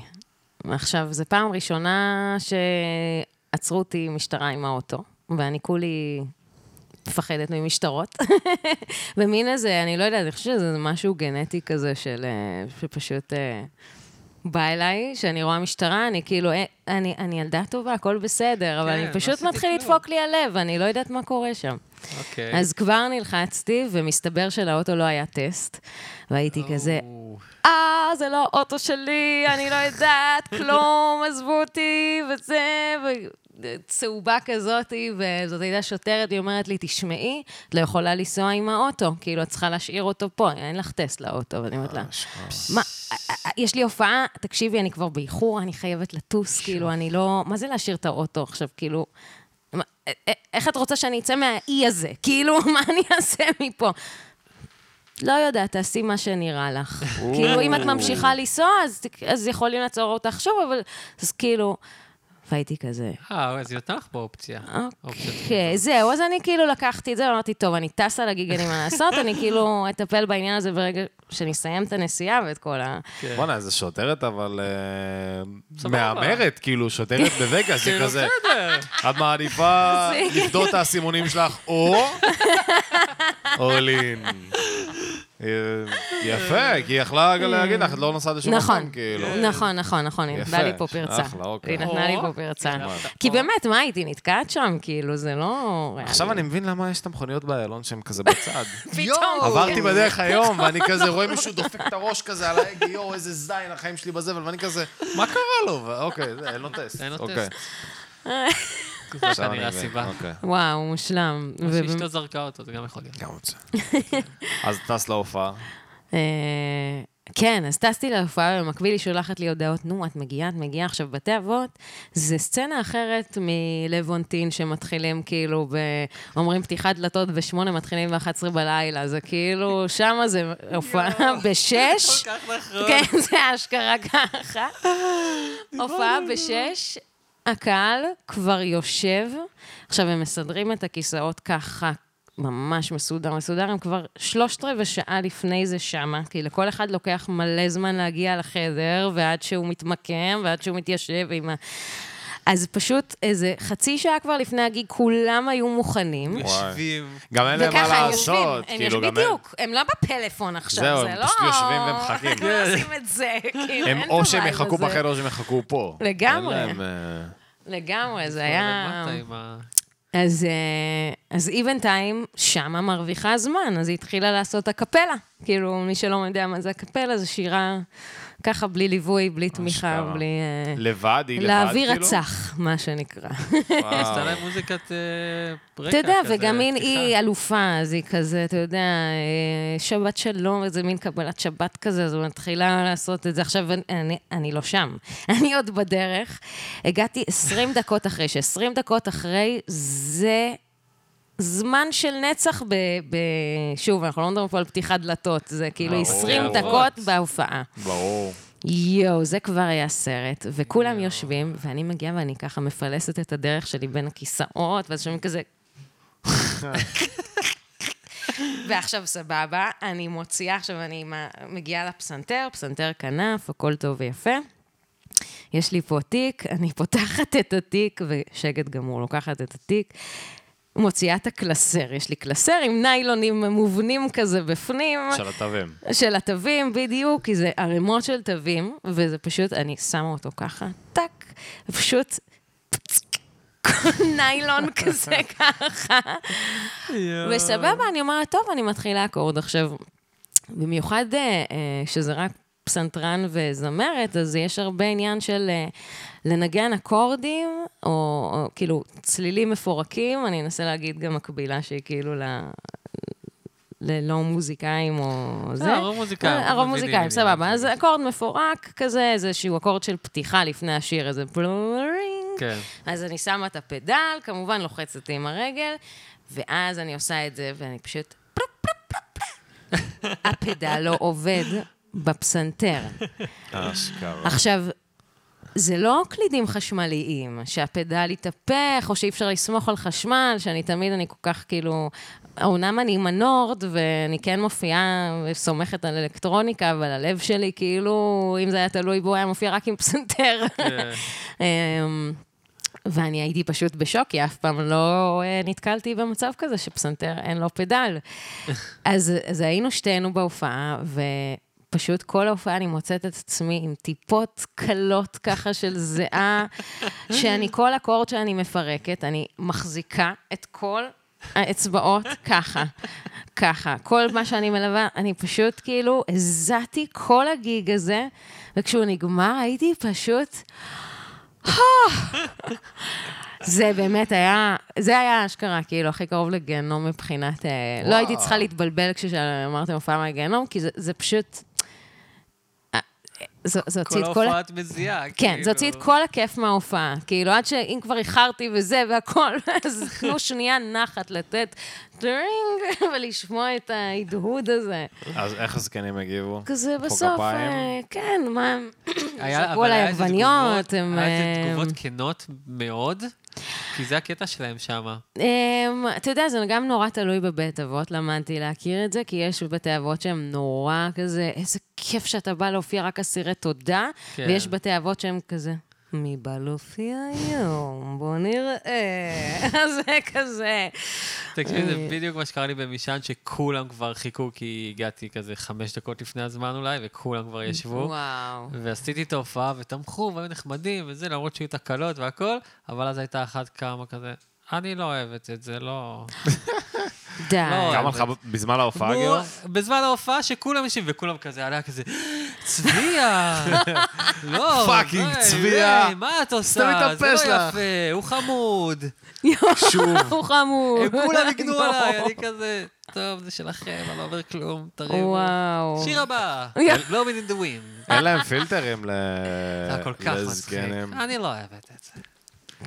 [SPEAKER 3] עכשיו, זו פעם ראשונה שעצרו אותי משטרה עם האוטו, ואני כולי מפחדת ממשטרות. במין איזה, אני לא יודעת, אני חושבת שזה משהו גנטי כזה של... אה, שפשוט אה, בא אליי, שאני רואה משטרה, אני כאילו, אה, אני, אני ילדה טובה, הכל בסדר, אבל
[SPEAKER 2] כן,
[SPEAKER 3] אני
[SPEAKER 2] לא
[SPEAKER 3] פשוט
[SPEAKER 2] עשיתי
[SPEAKER 3] מתחיל
[SPEAKER 2] כלום.
[SPEAKER 3] לדפוק לי הלב, אני לא יודעת מה קורה שם.
[SPEAKER 2] אוקיי.
[SPEAKER 3] אז כבר נלחצתי, ומסתבר שלאוטו לא היה טסט, והייתי כזה,
[SPEAKER 2] או,
[SPEAKER 3] אה, זה לא האוטו שלי, אני לא יודעת כלום, עזבו אותי, וזה, וצהובה כזאתי, וזאת הייתה שוטרת, היא אומרת לי, תשמעי, את לא יכולה לנסוע עם האוטו, כאילו, את צריכה להשאיר אותו פה, אין לך טסט לאוטו, ואני אומרת לה, מה, אה, אה, יש לי הופעה, תקשיבי, אני כבר באיחור, אני חייבת לטוס, כאילו, אני לא, מה זה להשאיר את האוטו עכשיו, כאילו... מה, אה, אה, איך את רוצה שאני אצא מהאי הזה? כאילו, מה אני אעשה מפה? לא יודעת, תעשי מה שנראה לך. כאילו, אם את ממשיכה לנסוע, אז, אז יכולים לעצור אותך שוב, אבל... אז כאילו... והייתי כזה,
[SPEAKER 2] אה, אז היא נתנה לך פה אופציה.
[SPEAKER 3] אה.
[SPEAKER 2] אופציות.
[SPEAKER 3] אוקיי, זהו, אז אני כאילו לקחתי את זה, ואמרתי, טוב, אני טסה לגיג, אין לי מה לעשות, אני כאילו אטפל בעניין הזה ברגע שנסיים את הנסיעה ואת כל ה...
[SPEAKER 1] בואנה, איזה שוטרת, אבל... אה,
[SPEAKER 2] כן. סבבה. כאילו,
[SPEAKER 1] מהמרת, כאילו, שוטרת בווגאס, היא כזה... את מעדיפה לפדות את האסימונים שלך, או... אולין. אה, יפה, כי היא יכלה
[SPEAKER 2] כן.
[SPEAKER 1] גם להגיד לך, את לא נוסעת לשום
[SPEAKER 3] נכון,
[SPEAKER 1] מקום, כאילו.
[SPEAKER 3] נכון, נכון, נכון, היא נתנה
[SPEAKER 1] יפה,
[SPEAKER 3] לי פה פרצה.
[SPEAKER 1] אחלה, אוקיי.
[SPEAKER 3] היא נתנה לי פה פרצה. כי באמת, מה, הייתי נתקעת שם? כאילו, זה לא... ריאלי.
[SPEAKER 1] עכשיו אני מבין למה יש את המכוניות באיילון שהן כזה בצד.
[SPEAKER 3] פתאום.
[SPEAKER 1] עברתי בדרך היום, ואני כזה
[SPEAKER 2] נכון.
[SPEAKER 1] רואה מישהו דופק את הראש כזה על ההגה, יואו, איזה זין, החיים שלי בזבל, ואני כזה, מה קרה לו? ו- אוקיי, זה, אין לו טסט.
[SPEAKER 2] אין לו
[SPEAKER 1] אוקיי.
[SPEAKER 2] טסט.
[SPEAKER 1] עכשיו
[SPEAKER 2] זה
[SPEAKER 1] אני
[SPEAKER 2] כנראה
[SPEAKER 1] מבין,
[SPEAKER 2] הסיבה.
[SPEAKER 1] אוקיי.
[SPEAKER 3] וואו, מושלם. ובאמת-
[SPEAKER 2] שאשתו זרקה אותו, זה גם יכול להיות.
[SPEAKER 1] גם רוצה. אז טס להופעה.
[SPEAKER 3] אה, כן, אז טסתי להופעה, ובמקביל היא שולחת לי הודעות, נו, את מגיעה, את מגיעה עכשיו בתי אבות. זה סצנה אחרת מלוונטין שמתחילים כאילו, ב... אומרים פתיחת דלתות בשמונה, מתחילים ב-11 בלילה, זה כאילו, שמה זה הופעה בשש.
[SPEAKER 2] כל כך נכון.
[SPEAKER 3] כן, זה אשכרה ככה. הופעה בשש, הקהל כבר יושב. עכשיו, הם מסדרים את הכיסאות ככה, ממש מסודר, מסודר, הם כבר שלושת רבעי שעה לפני זה שמה, כי לכל אחד לוקח מלא זמן להגיע לחדר, ועד שהוא מתמקם, ועד שהוא מתיישב עם ה... אז פשוט איזה חצי שעה כבר לפני הגיג, כולם היו מוכנים.
[SPEAKER 2] יושבים.
[SPEAKER 1] גם אין להם מה
[SPEAKER 3] וככה הם
[SPEAKER 1] לעשות,
[SPEAKER 3] יושבים, הם
[SPEAKER 1] כאילו,
[SPEAKER 3] יושבים,
[SPEAKER 1] גם אין...
[SPEAKER 3] בדיוק, הם לא בפלאפון עכשיו,
[SPEAKER 1] זהו,
[SPEAKER 3] זה
[SPEAKER 1] הם
[SPEAKER 3] לא...
[SPEAKER 1] פשוט יושבים ומחכים.
[SPEAKER 3] הם לא עושים את זה, כאילו, אין
[SPEAKER 1] הם
[SPEAKER 3] את
[SPEAKER 1] או שהם
[SPEAKER 3] הווייב
[SPEAKER 1] יחכו
[SPEAKER 3] הזה.
[SPEAKER 1] בחדר או שהם יחכו פה.
[SPEAKER 3] לגמרי.
[SPEAKER 1] אין להם, אה,
[SPEAKER 3] לגמרי, זה היה...
[SPEAKER 2] למטה עם ה...
[SPEAKER 3] אז, אה, אז היא בינתיים שמה מרוויחה זמן, אז היא התחילה לעשות הקפלה. כאילו, מי שלא יודע מה זה הקפלה, זה שירה ככה בלי ליווי, בלי תמיכה,
[SPEAKER 1] אשכרה.
[SPEAKER 3] בלי... אה,
[SPEAKER 1] לבד, היא לבד, כאילו?
[SPEAKER 3] לאוויר הצח, מה שנקרא.
[SPEAKER 1] וואו.
[SPEAKER 2] עשתה להם מוזיקת אה, רקע
[SPEAKER 3] אתה יודע,
[SPEAKER 2] כזה,
[SPEAKER 3] וגם מין
[SPEAKER 2] פתיחה.
[SPEAKER 3] היא אלופה, אז היא כזה, אתה יודע, אה, שבת שלום, איזה מין קבלת שבת כזה, אז היא מתחילה לעשות את זה. עכשיו, אני- אני, אני לא שם, אני עוד בדרך. הגעתי 20 דקות אחרי, ש-20 דקות אחרי זה... זמן של נצח ב... ב... שוב, אנחנו לא מדברים פה על פתיחת דלתות, זה כאילו 20
[SPEAKER 2] ברור. אוקיי.
[SPEAKER 3] דקות בהופעה.
[SPEAKER 1] ברור.
[SPEAKER 3] יואו, זה כבר היה סרט, וכולם יושבים, ואני מגיעה ואני ככה מפלסת את הדרך שלי בין הכיסאות, ואז שומעים כזה... ועכשיו סבבה, אני מוציאה, עכשיו אני עם ה- מגיעה לפסנתר, פסנתר כנף, הכל טוב ויפה. יש לי פה תיק, אני פותחת את התיק, ושקט גמור, לוקחת את התיק, מוציאה את הקלסר, יש לי קלסר עם ניילונים מובנים כזה בפנים.
[SPEAKER 1] של התווים.
[SPEAKER 3] של התווים, בדיוק, כי זה ערימות של תווים, וזה פשוט, אני שמה אותו ככה, טאק, ופשוט ניילון כזה ככה. וסבבה, אני אומרת, טוב, אני מתחילה אקורד עכשיו. במיוחד אה, אה, שזה רק פסנתרן וזמרת, אז יש הרבה עניין של אה, לנגן אקורדים, או, או כאילו צלילים מפורקים, אני אנסה להגיד גם מקבילה שהיא כאילו ל... ללא מוזיקאים או זה.
[SPEAKER 2] הרוב מוזיקאים,
[SPEAKER 3] אה, הרוב
[SPEAKER 2] מבינים
[SPEAKER 3] מוזיקאים,
[SPEAKER 2] עניין.
[SPEAKER 3] סבבה. אז אקורד מפורק כזה, איזשהו אקורד של פתיחה לפני השיר, איזה בלורינג.
[SPEAKER 2] כן.
[SPEAKER 3] אז אני שמה את הפדל, כמובן לוחצת עם הרגל, ואז אני עושה את זה, ואני פשוט... פלופ, פלופ, פלופ, פלופ. הפדל לא עובד בפסנתר.
[SPEAKER 1] אשכרה.
[SPEAKER 3] עכשיו, זה לא קלידים חשמליים, שהפדל יתהפך, או שאי אפשר לסמוך על חשמל, שאני תמיד, אני כל כך כאילו... אומנם אני עם הנורד, ואני כן מופיעה וסומכת על אלקטרוניקה, אבל הלב שלי, כאילו, אם זה היה תלוי בו, היה מופיע רק עם פסנתר. אמ, ואני הייתי פשוט בשוק, כי אף פעם לא אה, נתקלתי במצב כזה שפסנתר אין לו פדל. אז, אז היינו שתינו בהופעה, ופשוט כל ההופעה אני מוצאת את עצמי עם טיפות קלות ככה של זיעה, שאני, כל אקורד שאני מפרקת, אני מחזיקה את כל האצבעות ככה, ככה. כל מה שאני מלווה, אני פשוט כאילו הזעתי כל הגיג הזה, וכשהוא נגמר הייתי פשוט... זה באמת היה, זה היה אשכרה, כאילו, הכי קרוב לגיהנום מבחינת... אה, לא הייתי צריכה להתבלבל כשאמרתם הופעה מהגיהנום, כי זה- זה פשוט... אה, זה זה הוציא
[SPEAKER 2] כל
[SPEAKER 3] את כל... ה-
[SPEAKER 2] ההופעה את מזיעה.
[SPEAKER 3] כן,
[SPEAKER 2] כאילו.
[SPEAKER 3] זה הוציא את כל הכיף מההופעה. כאילו, עד שאם כבר איחרתי וזה והכל, אז תנו שנייה נחת לתת דרינג ולשמוע את ההדהוד הזה.
[SPEAKER 1] אז איך הזקנים הגיבו?
[SPEAKER 3] כזה
[SPEAKER 1] מחאו
[SPEAKER 3] בסוף,
[SPEAKER 1] כפיים?
[SPEAKER 3] אה, כן, מה הם...
[SPEAKER 2] היה-
[SPEAKER 3] זרקו
[SPEAKER 2] אבל
[SPEAKER 3] עליי
[SPEAKER 2] היה איזה
[SPEAKER 3] עגבניות,
[SPEAKER 2] תגובות-
[SPEAKER 3] הם...
[SPEAKER 2] היה איזה
[SPEAKER 3] אה,
[SPEAKER 2] תגובות כנות מאוד, כי זה הקטע שלהם שם.
[SPEAKER 3] אמ, אתה יודע, זה גם נורא תלוי בבית אבות, למדתי להכיר את זה, כי יש בתי אבות שהם נורא כזה, איזה כיף שאתה בא להופיע רק אסירי תודה,
[SPEAKER 2] כן.
[SPEAKER 3] ויש בתי אבות שהם כזה, מי בא להופיע היום? בוא נראה. זה כזה.
[SPEAKER 2] תקשיב,
[SPEAKER 3] אה,
[SPEAKER 2] זה בדיוק מה שקרה לי במשען, שכולם כבר חיכו, כי הגעתי כזה חמש דקות לפני הזמן אולי, וכולם כבר ישבו.
[SPEAKER 3] וואו. והייתי
[SPEAKER 2] ועשיתי את ההופעה, ותמכו, והיו נחמדים, וזה, למרות שהיו תקלות והכל, אבל אז הייתה אחת כמה כזה, אני לא אוהבת את זה, לא...
[SPEAKER 3] די.
[SPEAKER 1] כמה לך בזמן ההופעה,
[SPEAKER 2] נו,
[SPEAKER 1] גיל?
[SPEAKER 2] בזמן ההופעה שכולם יושבים, וכולם כזה, עליה כזה, צביה! לא,
[SPEAKER 1] פאקינג
[SPEAKER 2] די,
[SPEAKER 1] צביה.
[SPEAKER 2] די, מה את
[SPEAKER 1] סתמי את
[SPEAKER 2] עושה? זה לא
[SPEAKER 1] הפה שלך.
[SPEAKER 2] יפה, הוא חמוד.
[SPEAKER 3] הוא חמוד.
[SPEAKER 2] הם כולם הגנו
[SPEAKER 3] לא.
[SPEAKER 2] עליי, אני כזה, טוב, זה שלכם, אני לא אומר כלום, תריבו.
[SPEAKER 3] וואו.
[SPEAKER 2] שיר הבא, Blowing in the wind.
[SPEAKER 1] אין להם פילטרים ל-
[SPEAKER 2] זה היה כל כך מצחיק.
[SPEAKER 1] אה, לזקנים.
[SPEAKER 3] אה,
[SPEAKER 2] אני לא אוהבת את זה.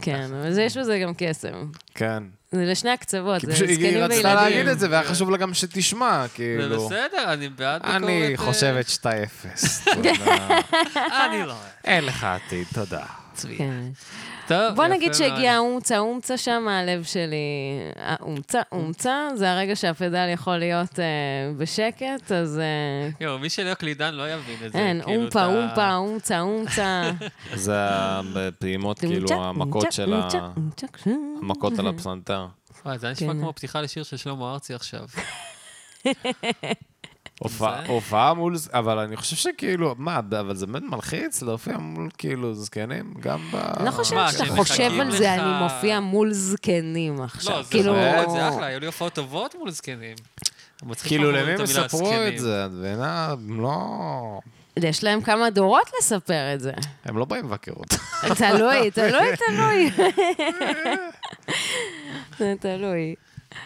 [SPEAKER 3] כן, אבל זה- יש בזה גם קסם.
[SPEAKER 1] כן.
[SPEAKER 3] זה לשני הקצוות,
[SPEAKER 1] כי
[SPEAKER 3] זה
[SPEAKER 1] פשוט היא
[SPEAKER 3] זקנים
[SPEAKER 1] רצתה להגיד
[SPEAKER 3] וילדים.
[SPEAKER 1] את זה, והיה חשוב לה גם שתשמע,
[SPEAKER 2] זה
[SPEAKER 1] כאילו.
[SPEAKER 2] בסדר, אני בעד ביקורת.
[SPEAKER 1] אני
[SPEAKER 2] אה, כן.
[SPEAKER 1] חושבת שאתה אפס. תודה.
[SPEAKER 2] אני לא אוהבת.
[SPEAKER 1] אין לך עתיד, תודה.
[SPEAKER 2] צבי.
[SPEAKER 3] כן.
[SPEAKER 2] טוב,
[SPEAKER 3] בוא
[SPEAKER 2] יפה
[SPEAKER 3] נגיד
[SPEAKER 2] מאוד.
[SPEAKER 3] שהגיע האומצה, האומצה שם, הלב שלי... האומצה, אומצה, זה הרגע שהפדל יכול להיות אה, בשקט, אז אה,
[SPEAKER 2] יואו, מי שלא קלידן לא יבין את זה.
[SPEAKER 3] אין,
[SPEAKER 2] כאילו,
[SPEAKER 3] אומפה,
[SPEAKER 2] אתה-
[SPEAKER 3] אומפה, אומצה, אומצה.
[SPEAKER 1] זה הפעימות, כאילו,
[SPEAKER 3] אומצה,
[SPEAKER 1] המכות
[SPEAKER 3] אומצה,
[SPEAKER 1] של ה...
[SPEAKER 3] אומצה, אומצה, כש-
[SPEAKER 1] המכות על הפסנתר.
[SPEAKER 2] וואי, זה היה נשמע
[SPEAKER 3] כן.
[SPEAKER 2] כמו פתיחה לשיר של שלמה ארצי עכשיו.
[SPEAKER 1] הופעה- הופעה מול... ז- אבל אני חושב שכאילו, מה, אבל זה באמת מלחיץ להופיע מול כאילו זקנים, גם ב...
[SPEAKER 3] אני לא חושבת
[SPEAKER 2] אה, מה,
[SPEAKER 3] שאתה
[SPEAKER 2] שהם
[SPEAKER 3] חושב
[SPEAKER 2] מחכים
[SPEAKER 3] על זה,
[SPEAKER 2] לך-
[SPEAKER 3] אני מופיע מול זקנים עכשיו.
[SPEAKER 2] לא, זה
[SPEAKER 3] כאילו...
[SPEAKER 2] מאוד, זה אחלה, היו לי הופעות טובות מול זקנים. מצחיק
[SPEAKER 1] כאילו,
[SPEAKER 2] שאנחנו אומרים
[SPEAKER 1] למי
[SPEAKER 2] את המילה
[SPEAKER 1] יספרו
[SPEAKER 2] זקנים.
[SPEAKER 1] את זה? את מבינה? הם לא...
[SPEAKER 3] יש להם כמה דורות לספר את זה.
[SPEAKER 1] הם לא באים לבקר אותה.
[SPEAKER 3] כן. תלוי, תלוי, תלוי. זה תלוי.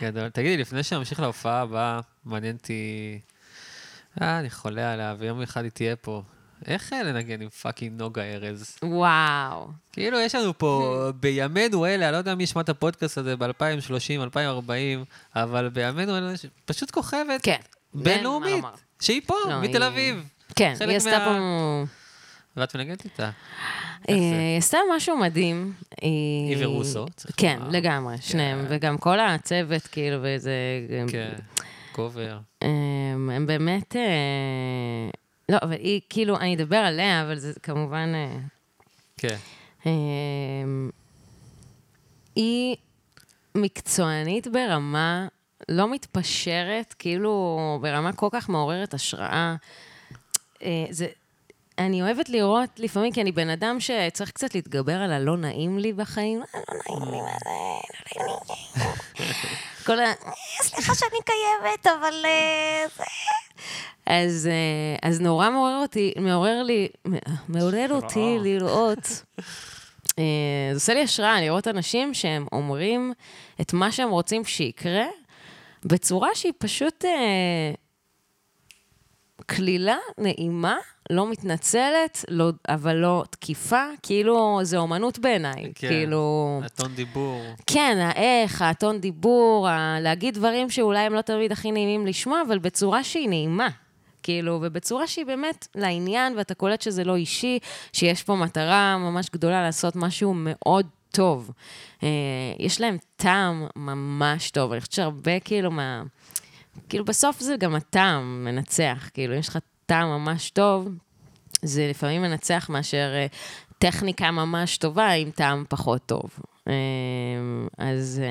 [SPEAKER 2] גדול. כן, תגידי, לפני שנמשיך להופעה הבאה, מעניין אותי... אה, אני חולה עליה, ויום אחד היא תהיה פה. איך אה, לנגן עם פאקינג נוגה ארז?
[SPEAKER 3] וואו.
[SPEAKER 2] כאילו, יש לנו פה, בימינו אלה, אני לא יודע מי ישמע את הפודקאסט הזה ב-2030, 2040, אבל בימינו אלה, יש פשוט כוכבת
[SPEAKER 3] כן. אין
[SPEAKER 2] בינלאומית,
[SPEAKER 3] מה לומר.
[SPEAKER 2] שהיא פה,
[SPEAKER 3] לא,
[SPEAKER 2] מתל
[SPEAKER 3] היא-
[SPEAKER 2] אביב.
[SPEAKER 3] כן,
[SPEAKER 2] חלק
[SPEAKER 3] היא עשתה
[SPEAKER 2] מה-
[SPEAKER 3] פה...
[SPEAKER 2] ואת מנגנת איתה.
[SPEAKER 3] אה, היא עשתה משהו מדהים. היא
[SPEAKER 2] היא ורוסו, צריך
[SPEAKER 3] כן,
[SPEAKER 2] לומר.
[SPEAKER 3] לגמרי, שניהם. וגם כל הצוות, כאילו, וזה...
[SPEAKER 2] כן, קובר.
[SPEAKER 3] הם הם באמת... אה, לא, אבל היא, כאילו, אני אדבר עליה, אבל זה כמובן... אה,
[SPEAKER 2] כן.
[SPEAKER 3] אה, היא מקצוענית ברמה לא מתפשרת, כאילו, ברמה כל כך מעוררת השראה. אה, זה... אני אוהבת לראות לפעמים, כי אני בן אדם שצריך קצת להתגבר על הלא נעים לי בחיים. "אה, לא נעים לי, מה זה, לא נעים לי." כל ה... "אה, סליחה שאני קיימת, אבל... אה, זה... אז, אה, אז נורא מעורר אותי, מעורר לי, מעורר אותי לראות. אה, זה עושה לי השראה לראות אנשים שהם אומרים את מה שהם רוצים שיקרה, בצורה שהיא פשוט אה, קלילה, נעימה, לא מתנצלת, לא, אבל לא תקיפה, כאילו, זה אומנות בעיניי.
[SPEAKER 2] כן.
[SPEAKER 3] כן. כאילו...
[SPEAKER 2] הטון דיבור.
[SPEAKER 3] כן, האיך, הטון דיבור, ה- להגיד דברים שאולי הם לא תמיד הכי נעימים לשמוע, אבל בצורה שהיא נעימה. כאילו, ובצורה שהיא באמת לעניין, ואתה קולט שזה לא אישי, שיש פה מטרה ממש גדולה לעשות משהו מאוד טוב. אה, יש להם טעם ממש טוב, אני חושבת שהרבה כאילו מה... כאילו, בסוף זה גם הטעם מנצח, כאילו, אם יש לך טעם ממש טוב, זה לפעמים מנצח מאשר אה, טכניקה ממש טובה עם טעם פחות טוב. אה, אז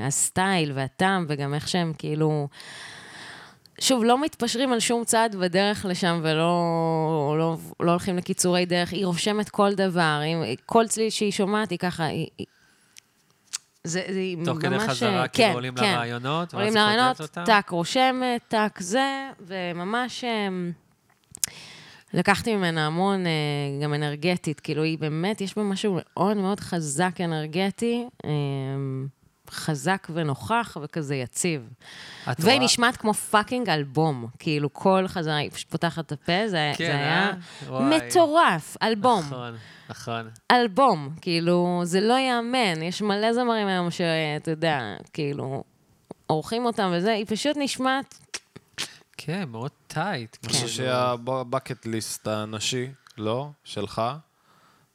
[SPEAKER 3] אה, הסטייל והטעם, וגם איך שהם כאילו... שוב, לא מתפשרים על שום צעד בדרך לשם ולא לא, לא הולכים לקיצורי דרך. היא רושמת כל דבר, היא, כל צליל שהיא שומעת היא ככה, היא... היא זה, זה היא ממש...
[SPEAKER 2] תוך כדי חזרה,
[SPEAKER 3] אה,
[SPEAKER 2] כאילו, עולים לרעיונות, ואז
[SPEAKER 3] עולים
[SPEAKER 2] היא כותבת
[SPEAKER 3] לרעיונות,
[SPEAKER 2] אותם.
[SPEAKER 3] טאק רושמת, טאק זה, וממש... אמ, לקחתי ממנה המון, אה, גם אנרגטית, כאילו, היא באמת, יש בה משהו מאוד מאוד חזק אנרגטי, אמ, חזק ונוכח וכזה יציב.
[SPEAKER 2] את רואה-
[SPEAKER 3] והיא נשמעת כמו פאקינג אלבום, כאילו כל חזרה, היא פשוט פותחת את הפה, זה,
[SPEAKER 2] כן,
[SPEAKER 3] זה
[SPEAKER 2] אה?
[SPEAKER 3] היה
[SPEAKER 2] וואי.
[SPEAKER 3] מטורף, אלבום,
[SPEAKER 2] נכון, נכון.
[SPEAKER 3] אלבום, כאילו, זה לא ייאמן, יש מלא זמרים היום שאתה יודע, כאילו, עורכים אותם וזה, היא פשוט נשמעת,
[SPEAKER 2] כן, מאוד טייט.
[SPEAKER 1] אני חושב שהבקט ליסט הנשי, לא? שלך?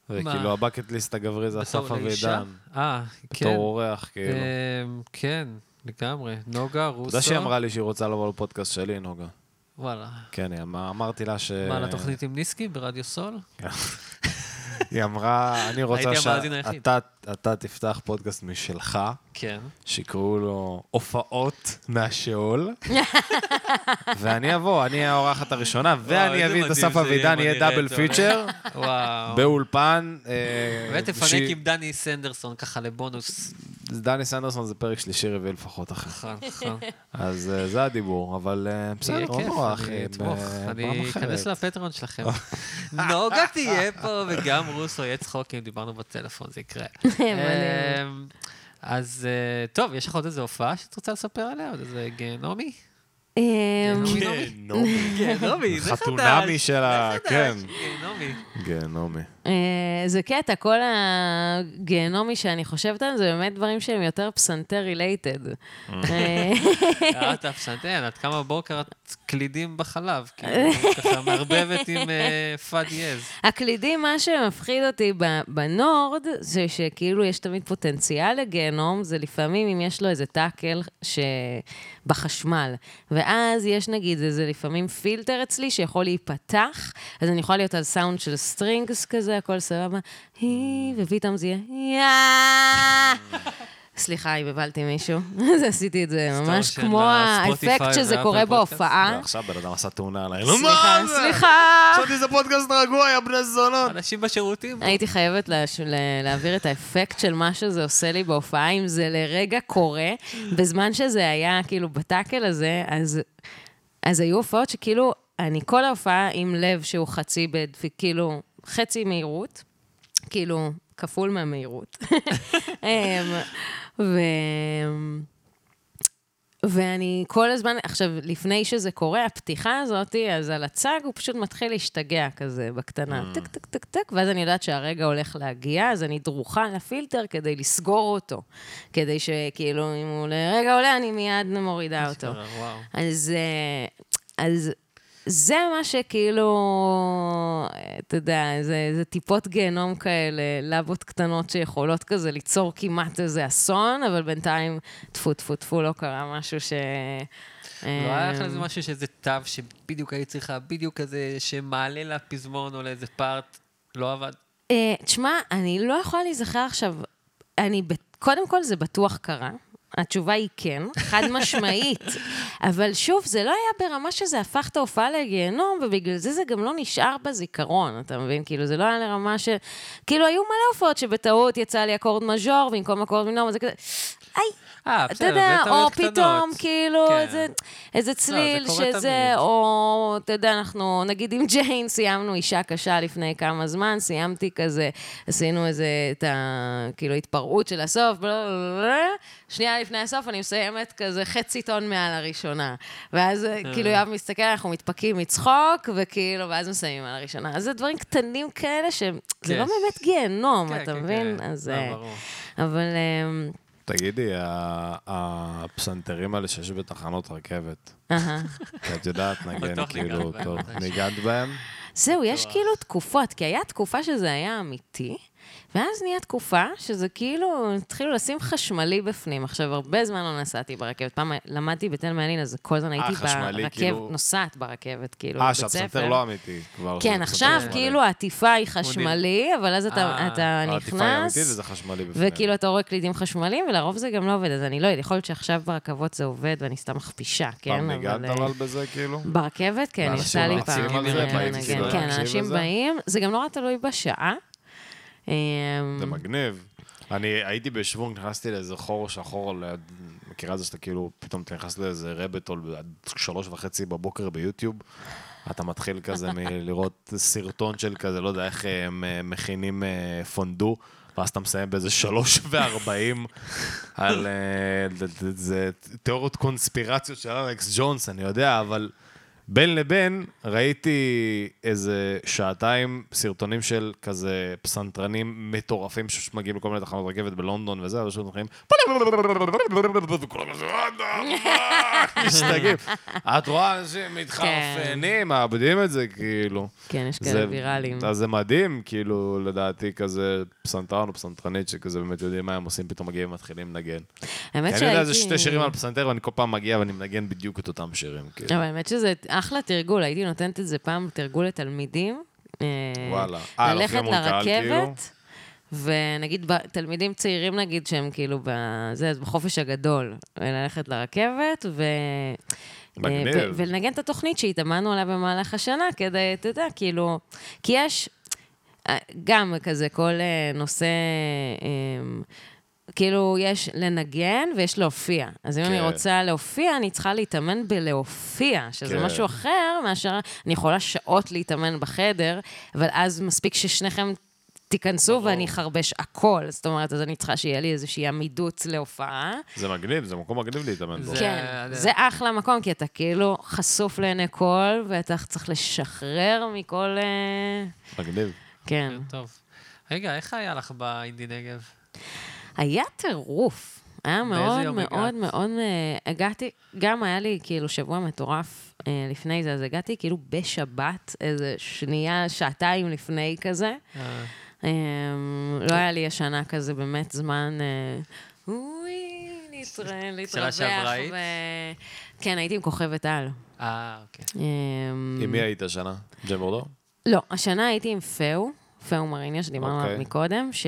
[SPEAKER 1] וכאילו הבקט ליסט הגברי זה אסף אבידן.
[SPEAKER 2] אה, כן.
[SPEAKER 1] בתור אורח, כאילו. אתה
[SPEAKER 2] אמ, כן, לגמרי. נוגה, רוסו.
[SPEAKER 1] יודע שהיא אמרה לי שהיא רוצה לבוא לפודקאסט שלי, נוגה.
[SPEAKER 2] וואלה.
[SPEAKER 1] כן, היא אמרה- אמרתי לה ש... כן.
[SPEAKER 2] מה, לתוכנית עם ניסקי ברדיו סול?
[SPEAKER 1] היא אמרה, אני רוצה
[SPEAKER 2] הייתי המאזין היחיד.
[SPEAKER 1] שאתה אתה תפתח פודקאסט משלך,
[SPEAKER 2] כן.
[SPEAKER 1] שיקראו לו הופעות מהשאול, ואני אבוא, אני האורחת הראשונה, ואני אביא
[SPEAKER 2] איזה
[SPEAKER 1] את
[SPEAKER 2] מדהים
[SPEAKER 1] אסף
[SPEAKER 2] זה יהיה,
[SPEAKER 1] אבידן,
[SPEAKER 2] מה
[SPEAKER 1] יהיה
[SPEAKER 2] נראה
[SPEAKER 1] דאבל
[SPEAKER 2] טוב.
[SPEAKER 1] פיצ'ר,
[SPEAKER 2] וואו.
[SPEAKER 1] באולפן. אה,
[SPEAKER 2] ותפנק
[SPEAKER 1] שהיא-
[SPEAKER 2] אוקיי. עם דני סנדרסון ככה לבונוס.
[SPEAKER 1] דני סנדרסון זה פרק שלישי רביעי לפחות אחר.
[SPEAKER 2] נכון, נכון.
[SPEAKER 1] אז אה, זה הדיבור, אבל אה,
[SPEAKER 2] יהיה
[SPEAKER 1] בסדר, לא
[SPEAKER 2] כיף,
[SPEAKER 1] נורא, אחי.
[SPEAKER 2] אני
[SPEAKER 1] ב-
[SPEAKER 2] אתמוך,
[SPEAKER 1] אה, פעם
[SPEAKER 2] אני
[SPEAKER 1] אחרת.
[SPEAKER 2] אכנס לפטרון שלכם. נוגה תהיה פה, וגם רוסו יהיה צחוקים, דיברנו בטלפון, זה יקרה. אמ, אז אה, טוב, יש לך עוד איזו הופעה שאת רוצה לספר עליה? עוד איזה גהנומי?
[SPEAKER 3] אמ,
[SPEAKER 2] גהנומי, זה חדש.
[SPEAKER 1] חתונמי של ה... כן.
[SPEAKER 2] גהנומי.
[SPEAKER 1] גהנומי.
[SPEAKER 3] אה, זה קטע, כל הגיהנומי שאני חושבת עליהם, זה באמת דברים שהם יותר אה, פסנתר רילייטד.
[SPEAKER 2] Mm. אה, את הפסנתן, את קמה בבוקר, את קלידים בחלב, כאילו, ככה מערבבת עם אה, פאד יז.
[SPEAKER 3] הקלידים, מה שמפחיד אותי ב- בנורד, זה שכאילו יש תמיד פוטנציאל לגיהנום, זה לפעמים אם יש לו איזה טאקל שבחשמל. ואז יש נגיד איזה לפעמים פילטר אצלי שיכול להיפתח, אז אני יכולה להיות על סאונד של סטרינגס כזה, הכל סבבה, "הי", ופתאום זה יהיה יאה. סליחה, אם הבלתי מישהו. אז עשיתי את זה
[SPEAKER 2] סטור
[SPEAKER 3] ממש
[SPEAKER 2] של
[SPEAKER 3] כמו
[SPEAKER 2] הספוטיפיי
[SPEAKER 3] האפקט שזה
[SPEAKER 2] ואפל
[SPEAKER 3] קורה
[SPEAKER 2] פודקאסט.
[SPEAKER 3] בהופעה.
[SPEAKER 1] ועכשיו לא, בן אדם עשה תאונה עליי. נו מה?
[SPEAKER 3] אה? סליחה, סליחה.
[SPEAKER 1] חשבתי שזה פודקאסט רגוע, יא בני זונות.
[SPEAKER 2] אנשים בשירותים.
[SPEAKER 3] הייתי חייבת לש... ל- להעביר את האפקט של מה שזה עושה לי בהופעה, אם זה לרגע קורה. בזמן שזה היה, כאילו, בטאקל הזה, אז, אז היו הופעות שכאילו, אני כל ההופעה עם לב שהוא חצי, בדפי, כאילו, חצי מהירות, כאילו, כפול מהמהירות. אמ, ו... ואני כל הזמן, עכשיו, לפני שזה קורה, הפתיחה הזאת, אז על הצג הוא פשוט מתחיל להשתגע כזה, בקטנה, טק, טק, טק, טק, ואז אני יודעת שהרגע הולך להגיע, אז אני דרוכה לפילטר כדי לסגור אותו. כדי שכאילו, אם הוא לרגע עולה, אני מיד מורידה אותו.
[SPEAKER 2] וואו.
[SPEAKER 3] אז, אה, אז זה מה שכאילו, אה, אתה יודע, זה, זה טיפות גיהנום כאלה, לבות קטנות שיכולות כזה ליצור כמעט איזה אסון, אבל בינתיים, טפו, טפו, טפו, לא קרה משהו ש...
[SPEAKER 2] לא היה
[SPEAKER 3] אמ,
[SPEAKER 2] לך איזה משהו שאיזה תו שבדיוק היית צריכה, בדיוק כזה שמעלה לפזמון או לאיזה פארט, לא עבד.
[SPEAKER 3] אה, תשמע, אני לא יכולה להיזכר עכשיו, אני, ב- קודם כל זה בטוח קרה. התשובה היא כן, חד משמעית. אבל שוב, זה לא היה ברמה שזה הפך את ההופעה לגיהנום, ובגלל זה זה גם לא נשאר בזיכרון, אתה מבין? כאילו, זה לא היה לרמה ש... כאילו, היו מלא הופעות שבטעות יצא לי אקורד מז'ור, במקום אקורד מינור, זה כזה... איי,
[SPEAKER 2] אה,
[SPEAKER 3] אתה
[SPEAKER 2] בסדר, זה
[SPEAKER 3] יודע, או
[SPEAKER 2] טעויות קטנות.
[SPEAKER 3] פתאום, כאילו,
[SPEAKER 2] כן.
[SPEAKER 3] איזה, איזה צליל
[SPEAKER 2] קורה
[SPEAKER 3] שזה,
[SPEAKER 2] תמיד.
[SPEAKER 3] או, אתה יודע, אנחנו, נגיד עם ג'יין סיימנו אישה קשה לפני כמה זמן, סיימתי כזה, עשינו איזה, את ה... כאילו, התפרעות של הסוף, בלה, בלה, בלה. שנייה לפני הסוף אני מסיימת כזה חצי טון מעל הראשונה. ואז אה, כאילו יואב מסתכל, אנחנו מתפקים מצחוק, וכאילו, ואז מסיימים על הראשונה. אז זה דברים קטנים כאלה שהם, זה
[SPEAKER 2] כן.
[SPEAKER 3] לא באמת גיהנום,
[SPEAKER 2] כן,
[SPEAKER 3] אתה
[SPEAKER 2] כן,
[SPEAKER 3] מבין?
[SPEAKER 2] כן.
[SPEAKER 3] אז...
[SPEAKER 2] לא,
[SPEAKER 3] אה,
[SPEAKER 2] ברור.
[SPEAKER 3] אבל אמ,
[SPEAKER 1] תגידי, ה- הפסנתרים האלה שיש בתחנות רכבת,
[SPEAKER 3] אהה.
[SPEAKER 1] את יודעת נגן
[SPEAKER 2] בטוח
[SPEAKER 1] כאילו,
[SPEAKER 2] ניגעת בהם
[SPEAKER 1] טוב,
[SPEAKER 2] מתישהו.
[SPEAKER 1] ניגעת בהם?
[SPEAKER 3] זהו, יש כאילו תקופות, כי היה תקופה שזה היה אמיתי, ואז נהיה תקופה שזה כאילו, התחילו לשים חשמלי בפנים. עכשיו, הרבה זמן לא נסעתי ברכבת. פעם למדתי בתל מעלין, אז כל הזמן הייתי
[SPEAKER 1] אה, חשמלי,
[SPEAKER 3] ברכבת,
[SPEAKER 1] כאילו-
[SPEAKER 3] נוסעת ברכבת, כאילו,
[SPEAKER 1] אה,
[SPEAKER 3] בבית
[SPEAKER 1] שהפסנתר
[SPEAKER 3] ספר.
[SPEAKER 1] לא אמיתי כבר.
[SPEAKER 3] כן,
[SPEAKER 1] זה
[SPEAKER 3] עכשיו
[SPEAKER 1] פסנתר
[SPEAKER 3] כאילו העטיפה היא חשמלי, אבל אז אתה,
[SPEAKER 2] אה,
[SPEAKER 3] אתה
[SPEAKER 1] לא, העטיפה היא
[SPEAKER 3] נכנס,
[SPEAKER 1] אמיתית וזה חשמלי בפנים.
[SPEAKER 3] וכאילו אתה רואה קלידים חשמליים, ולרוב זה גם לא עובד, אז אני לא יודעת, יכול להיות שעכשיו ברכבות זה עובד ואני סתם מכפישה, כן?
[SPEAKER 1] פעם ניגעת
[SPEAKER 3] אה,
[SPEAKER 1] אבל בזה, כאילו?
[SPEAKER 3] ברכבת, כן,
[SPEAKER 1] ואנשים
[SPEAKER 3] יצא לי
[SPEAKER 1] רצים
[SPEAKER 3] פעם
[SPEAKER 1] על זה,
[SPEAKER 3] אה,
[SPEAKER 1] באים
[SPEAKER 3] לנגן.
[SPEAKER 1] כאילו
[SPEAKER 3] כן,
[SPEAKER 1] להקשיב
[SPEAKER 3] אנשים
[SPEAKER 1] לזה?
[SPEAKER 3] באים, זה גם נורא תלוי בשעה. אה,
[SPEAKER 1] זה מגניב. אני הייתי בשוונג, נכנסתי לאיזה חור שחור, ליד- מכירה את זה שאתה כאילו, פתאום אתה נכנס לאיזה רבטול עד שלוש וחצי בבוקר ביוטיוב, אתה מתחיל כזה מלראות סרטון של כזה, לא יודע איך הם אה, מכינים אה, פונדו. ואז אתה מסיים באיזה שלוש וארבעים על אה, ד- ד- זה תיאוריות קונספירציות של אלכס ג'ונס, אני יודע, אבל בין לבין ראיתי איזה שעתיים סרטונים של כזה פסנתרנים מטורפים שמגיעים לכל מיני תחנות רכבת בלונדון וזה, אבל פשוט מתחילים... וכולם כזה, משתגעים. את רואה אנשים מתחרפנים, מאבדים את זה, כאילו.
[SPEAKER 3] כן, יש
[SPEAKER 1] זה-
[SPEAKER 3] כאלה ויראליים.
[SPEAKER 1] אז זה מדהים, כאילו, לדעתי, כזה פסנתרן או פסנתרנית, שכזה באמת יודעים מה הם עושים, פתאום מגיעים ומתחילים לנגן.
[SPEAKER 3] האמת
[SPEAKER 1] כי כן, אני יודע
[SPEAKER 3] שהייתי-
[SPEAKER 1] איזה שתי שירים על פסנתר, ואני כל פעם מגיע ואני מנגן בדיוק את אותם שירים, כאילו.
[SPEAKER 3] אבל האמת שזה אחלה תרגול, הייתי נותנת את זה פעם, תרגול לתלמידים. אה,
[SPEAKER 1] וואלה. אה, הולכים
[SPEAKER 3] ללכת
[SPEAKER 1] מול קהל, כאילו?
[SPEAKER 3] לרכבת, ונגיד, ב- תלמידים צעירים נגיד, שהם כאילו בזה, אז בחופש הגדול, ללכת לרכבת, ו... אה,
[SPEAKER 1] מגניב.
[SPEAKER 3] ו- ולנגן את התוכנית שהתאמנו עליה במהלך השנה, כדי, אתה יודע, כאילו... כי יש אה, גם כזה כל אה, נושא... אה, כאילו, יש לנגן ויש להופיע. אז אם אני
[SPEAKER 1] כן.
[SPEAKER 3] רוצה להופיע, אני צריכה להתאמן בלהופיע, שזה
[SPEAKER 1] כן.
[SPEAKER 3] משהו אחר מאשר... אני יכולה שעות להתאמן בחדר, אבל אז מספיק ששניכם תיכנסו ואני אחרבש הכל. זאת אומרת, אז אני צריכה שיהיה לי איזושהי עמידות להופעה.
[SPEAKER 1] זה מגניב, זה מקום מגניב להתאמן בו.
[SPEAKER 2] זה-
[SPEAKER 3] כן, זה אחלה מקום, כי אתה כאילו חשוף לעיני כל, ואתה צריך לשחרר מכל... אה,
[SPEAKER 1] מגניב.
[SPEAKER 3] כן.
[SPEAKER 2] טוב. רגע, איך היה לך באינדי נגב?
[SPEAKER 3] היה טירוף. היה מאוד
[SPEAKER 2] יום
[SPEAKER 3] מאוד
[SPEAKER 2] הגעת?
[SPEAKER 3] מאוד... אה, הגעתי, גם היה לי כאילו שבוע מטורף אה, לפני זה, אז הגעתי כאילו בשבת, איזה שנייה, שעתיים לפני כזה.
[SPEAKER 2] אה,
[SPEAKER 3] אה, לא היה לי השנה כזה באמת זמן... אה, אוי, להתראה- להתרווח.
[SPEAKER 2] שעברה היית?
[SPEAKER 3] ו- כן, הייתי עם כוכבת על.
[SPEAKER 2] אה, אוקיי.
[SPEAKER 3] אה,
[SPEAKER 1] עם מי היית השנה? ג'ם בורדו?
[SPEAKER 3] לא, השנה הייתי עם פאו, פאו מריניה, שדיברנו
[SPEAKER 1] אוקיי.
[SPEAKER 3] עליו
[SPEAKER 2] אה,
[SPEAKER 3] מקודם, ש...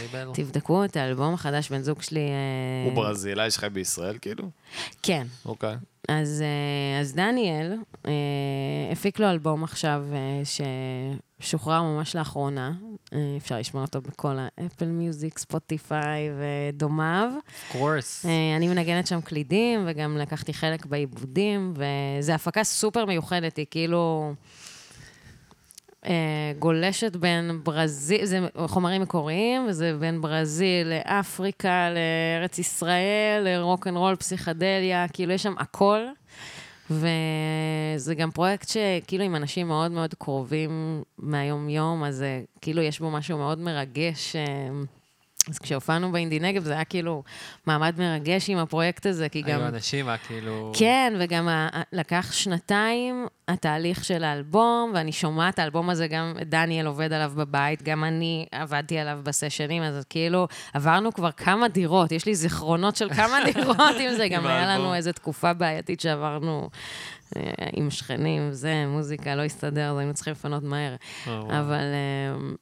[SPEAKER 2] אבל היא
[SPEAKER 3] תבדקו את האלבום החדש, בן זוג שלי... אה,
[SPEAKER 1] הוא ברזילאי שחי בישראל, כאילו?
[SPEAKER 3] כן.
[SPEAKER 1] אוקיי.
[SPEAKER 3] אז, אה, אז דניאל אה, הפיק לו אלבום עכשיו אה, ששוחרר ממש לאחרונה. אה, אפשר לשמוע אותו בכל האפל מיוזיק, ספוטיפיי ודומיו.
[SPEAKER 2] קורס.
[SPEAKER 3] אה, אני מנגנת שם קלידים, וגם לקחתי חלק בעיבודים, וזו הפקה סופר מיוחדת, היא כאילו... אה, גולשת בין ברזיל, זה חומרים מקוריים, וזה בין ברזיל לאפריקה, לארץ ישראל, לרוקנרול, פסיכדליה, כאילו יש שם הכל. וזה גם פרויקט שכאילו עם אנשים מאוד מאוד קרובים מהיום-יום, אז אה, כאילו יש בו משהו מאוד מרגש. אה, אז כשהופענו באינדי נגב זה היה כאילו מעמד מרגש עם הפרויקט הזה, כי גם...
[SPEAKER 2] היו אנשים, היה כאילו...
[SPEAKER 3] כן, וגם ה- ה- לקח שנתיים התהליך של האלבום, ואני שומעת, האלבום הזה גם דניאל עובד עליו בבית, גם אני עבדתי עליו בסשנים, אז כאילו עברנו כבר כמה דירות, יש לי זיכרונות של כמה דירות עם זה, גם היה לנו איזו תקופה בעייתית שעברנו אה, עם שכנים, זה, מוזיקה, לא הסתדר, אז היינו צריכים לפנות מהר. אבל... אה,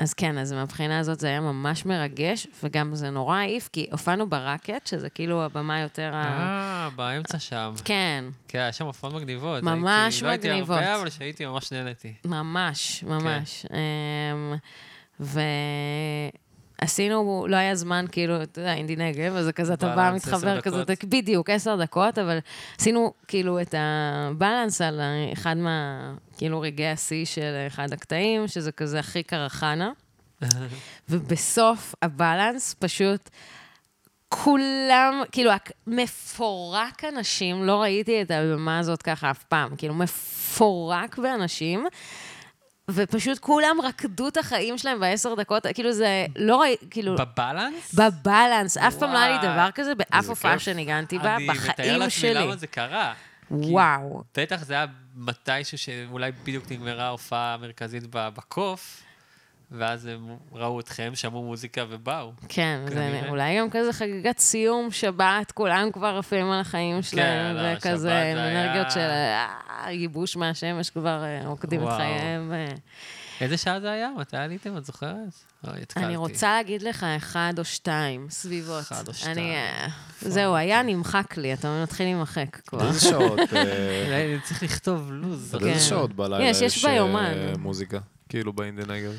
[SPEAKER 3] אז כן, אז מהבחינה הזאת זה היה ממש מרגש, וגם זה נורא העיף, כי הופענו ברקט, שזה כאילו הבמה יותר ה...
[SPEAKER 2] אה, באמצע שם.
[SPEAKER 3] כן,
[SPEAKER 2] כן, היה שם הופעות מגניבות.
[SPEAKER 3] ממש
[SPEAKER 2] הייתי- לא הייתי
[SPEAKER 3] מגניבות.
[SPEAKER 2] הרבה, אבל שהייתי ממש נהניתי.
[SPEAKER 3] ממש, ממש.
[SPEAKER 2] כן.
[SPEAKER 3] אמ, ועשינו, לא היה זמן, כאילו, אתה יודע, אינדי נגב, אז זה כזה, אתה בא,
[SPEAKER 2] בלנס,
[SPEAKER 3] מתחבר
[SPEAKER 2] עשר
[SPEAKER 3] כזה,
[SPEAKER 2] דקות.
[SPEAKER 3] אתה- בדיוק, עשר דקות, אבל עשינו כאילו את הבלנס על אחד מה, כאילו, רגעי השיא של אחד הקטעים, שזה כזה הכי קרחנה. ובסוף הבלנס פשוט... כולם, כאילו, הק- מפורק אנשים, לא ראיתי את הבמה הזאת ככה אף פעם, כאילו, מפורק באנשים, ופשוט כולם רקדו את החיים שלהם בעשר דקות, כאילו זה לא ראי... כאילו...
[SPEAKER 2] בבלנס?
[SPEAKER 3] בבלנס, אף פעם לא היה לי
[SPEAKER 2] וואי.
[SPEAKER 3] דבר כזה באף
[SPEAKER 1] איזה
[SPEAKER 3] הופעה
[SPEAKER 1] כיף.
[SPEAKER 3] שניגנתי בה,
[SPEAKER 2] אני מתאר
[SPEAKER 3] בחיים
[SPEAKER 2] לעצמי
[SPEAKER 3] שלי.
[SPEAKER 2] למה זה קרה.
[SPEAKER 3] וואו.
[SPEAKER 2] בטח זה היה מתישהו שאולי בדיוק נגמרה ההופעה המרכזית ב- בקוף, ואז הם ראו אתכם, שמעו מוזיקה ובאו.
[SPEAKER 3] כן, זה
[SPEAKER 2] כנראה.
[SPEAKER 3] אולי גם כזה חגיגת סיום, שבת, כולם כבר עפים על החיים שלהם,
[SPEAKER 2] על השבת
[SPEAKER 3] וכזה
[SPEAKER 2] כן, לא, זה
[SPEAKER 3] עם אנרגיות
[SPEAKER 2] היה-
[SPEAKER 3] של אה, ייבוש מהשמש כבר אה, רוקדים את
[SPEAKER 2] וואו.
[SPEAKER 3] חייהם. אה.
[SPEAKER 2] איזה שעה זה היה? מתי עליתם? את זוכרת? אוי, התקלתי.
[SPEAKER 3] אני רוצה להגיד לך, אחד או שתיים, סביבות.
[SPEAKER 2] אחד או
[SPEAKER 3] אני,
[SPEAKER 2] שתיים. נכון.
[SPEAKER 3] אה, זהו, היה נמחק לי, אתה מבין, מתחיל להימחק כבר.
[SPEAKER 1] באיזה שעות, אה,
[SPEAKER 2] אולי אני צריך לכתוב לו"ז.
[SPEAKER 1] באיזה
[SPEAKER 3] כן.
[SPEAKER 1] שעות בלילה
[SPEAKER 3] יש, יש
[SPEAKER 1] אה,
[SPEAKER 3] ביומן.
[SPEAKER 1] מוזיקה? כאילו באינדנגר.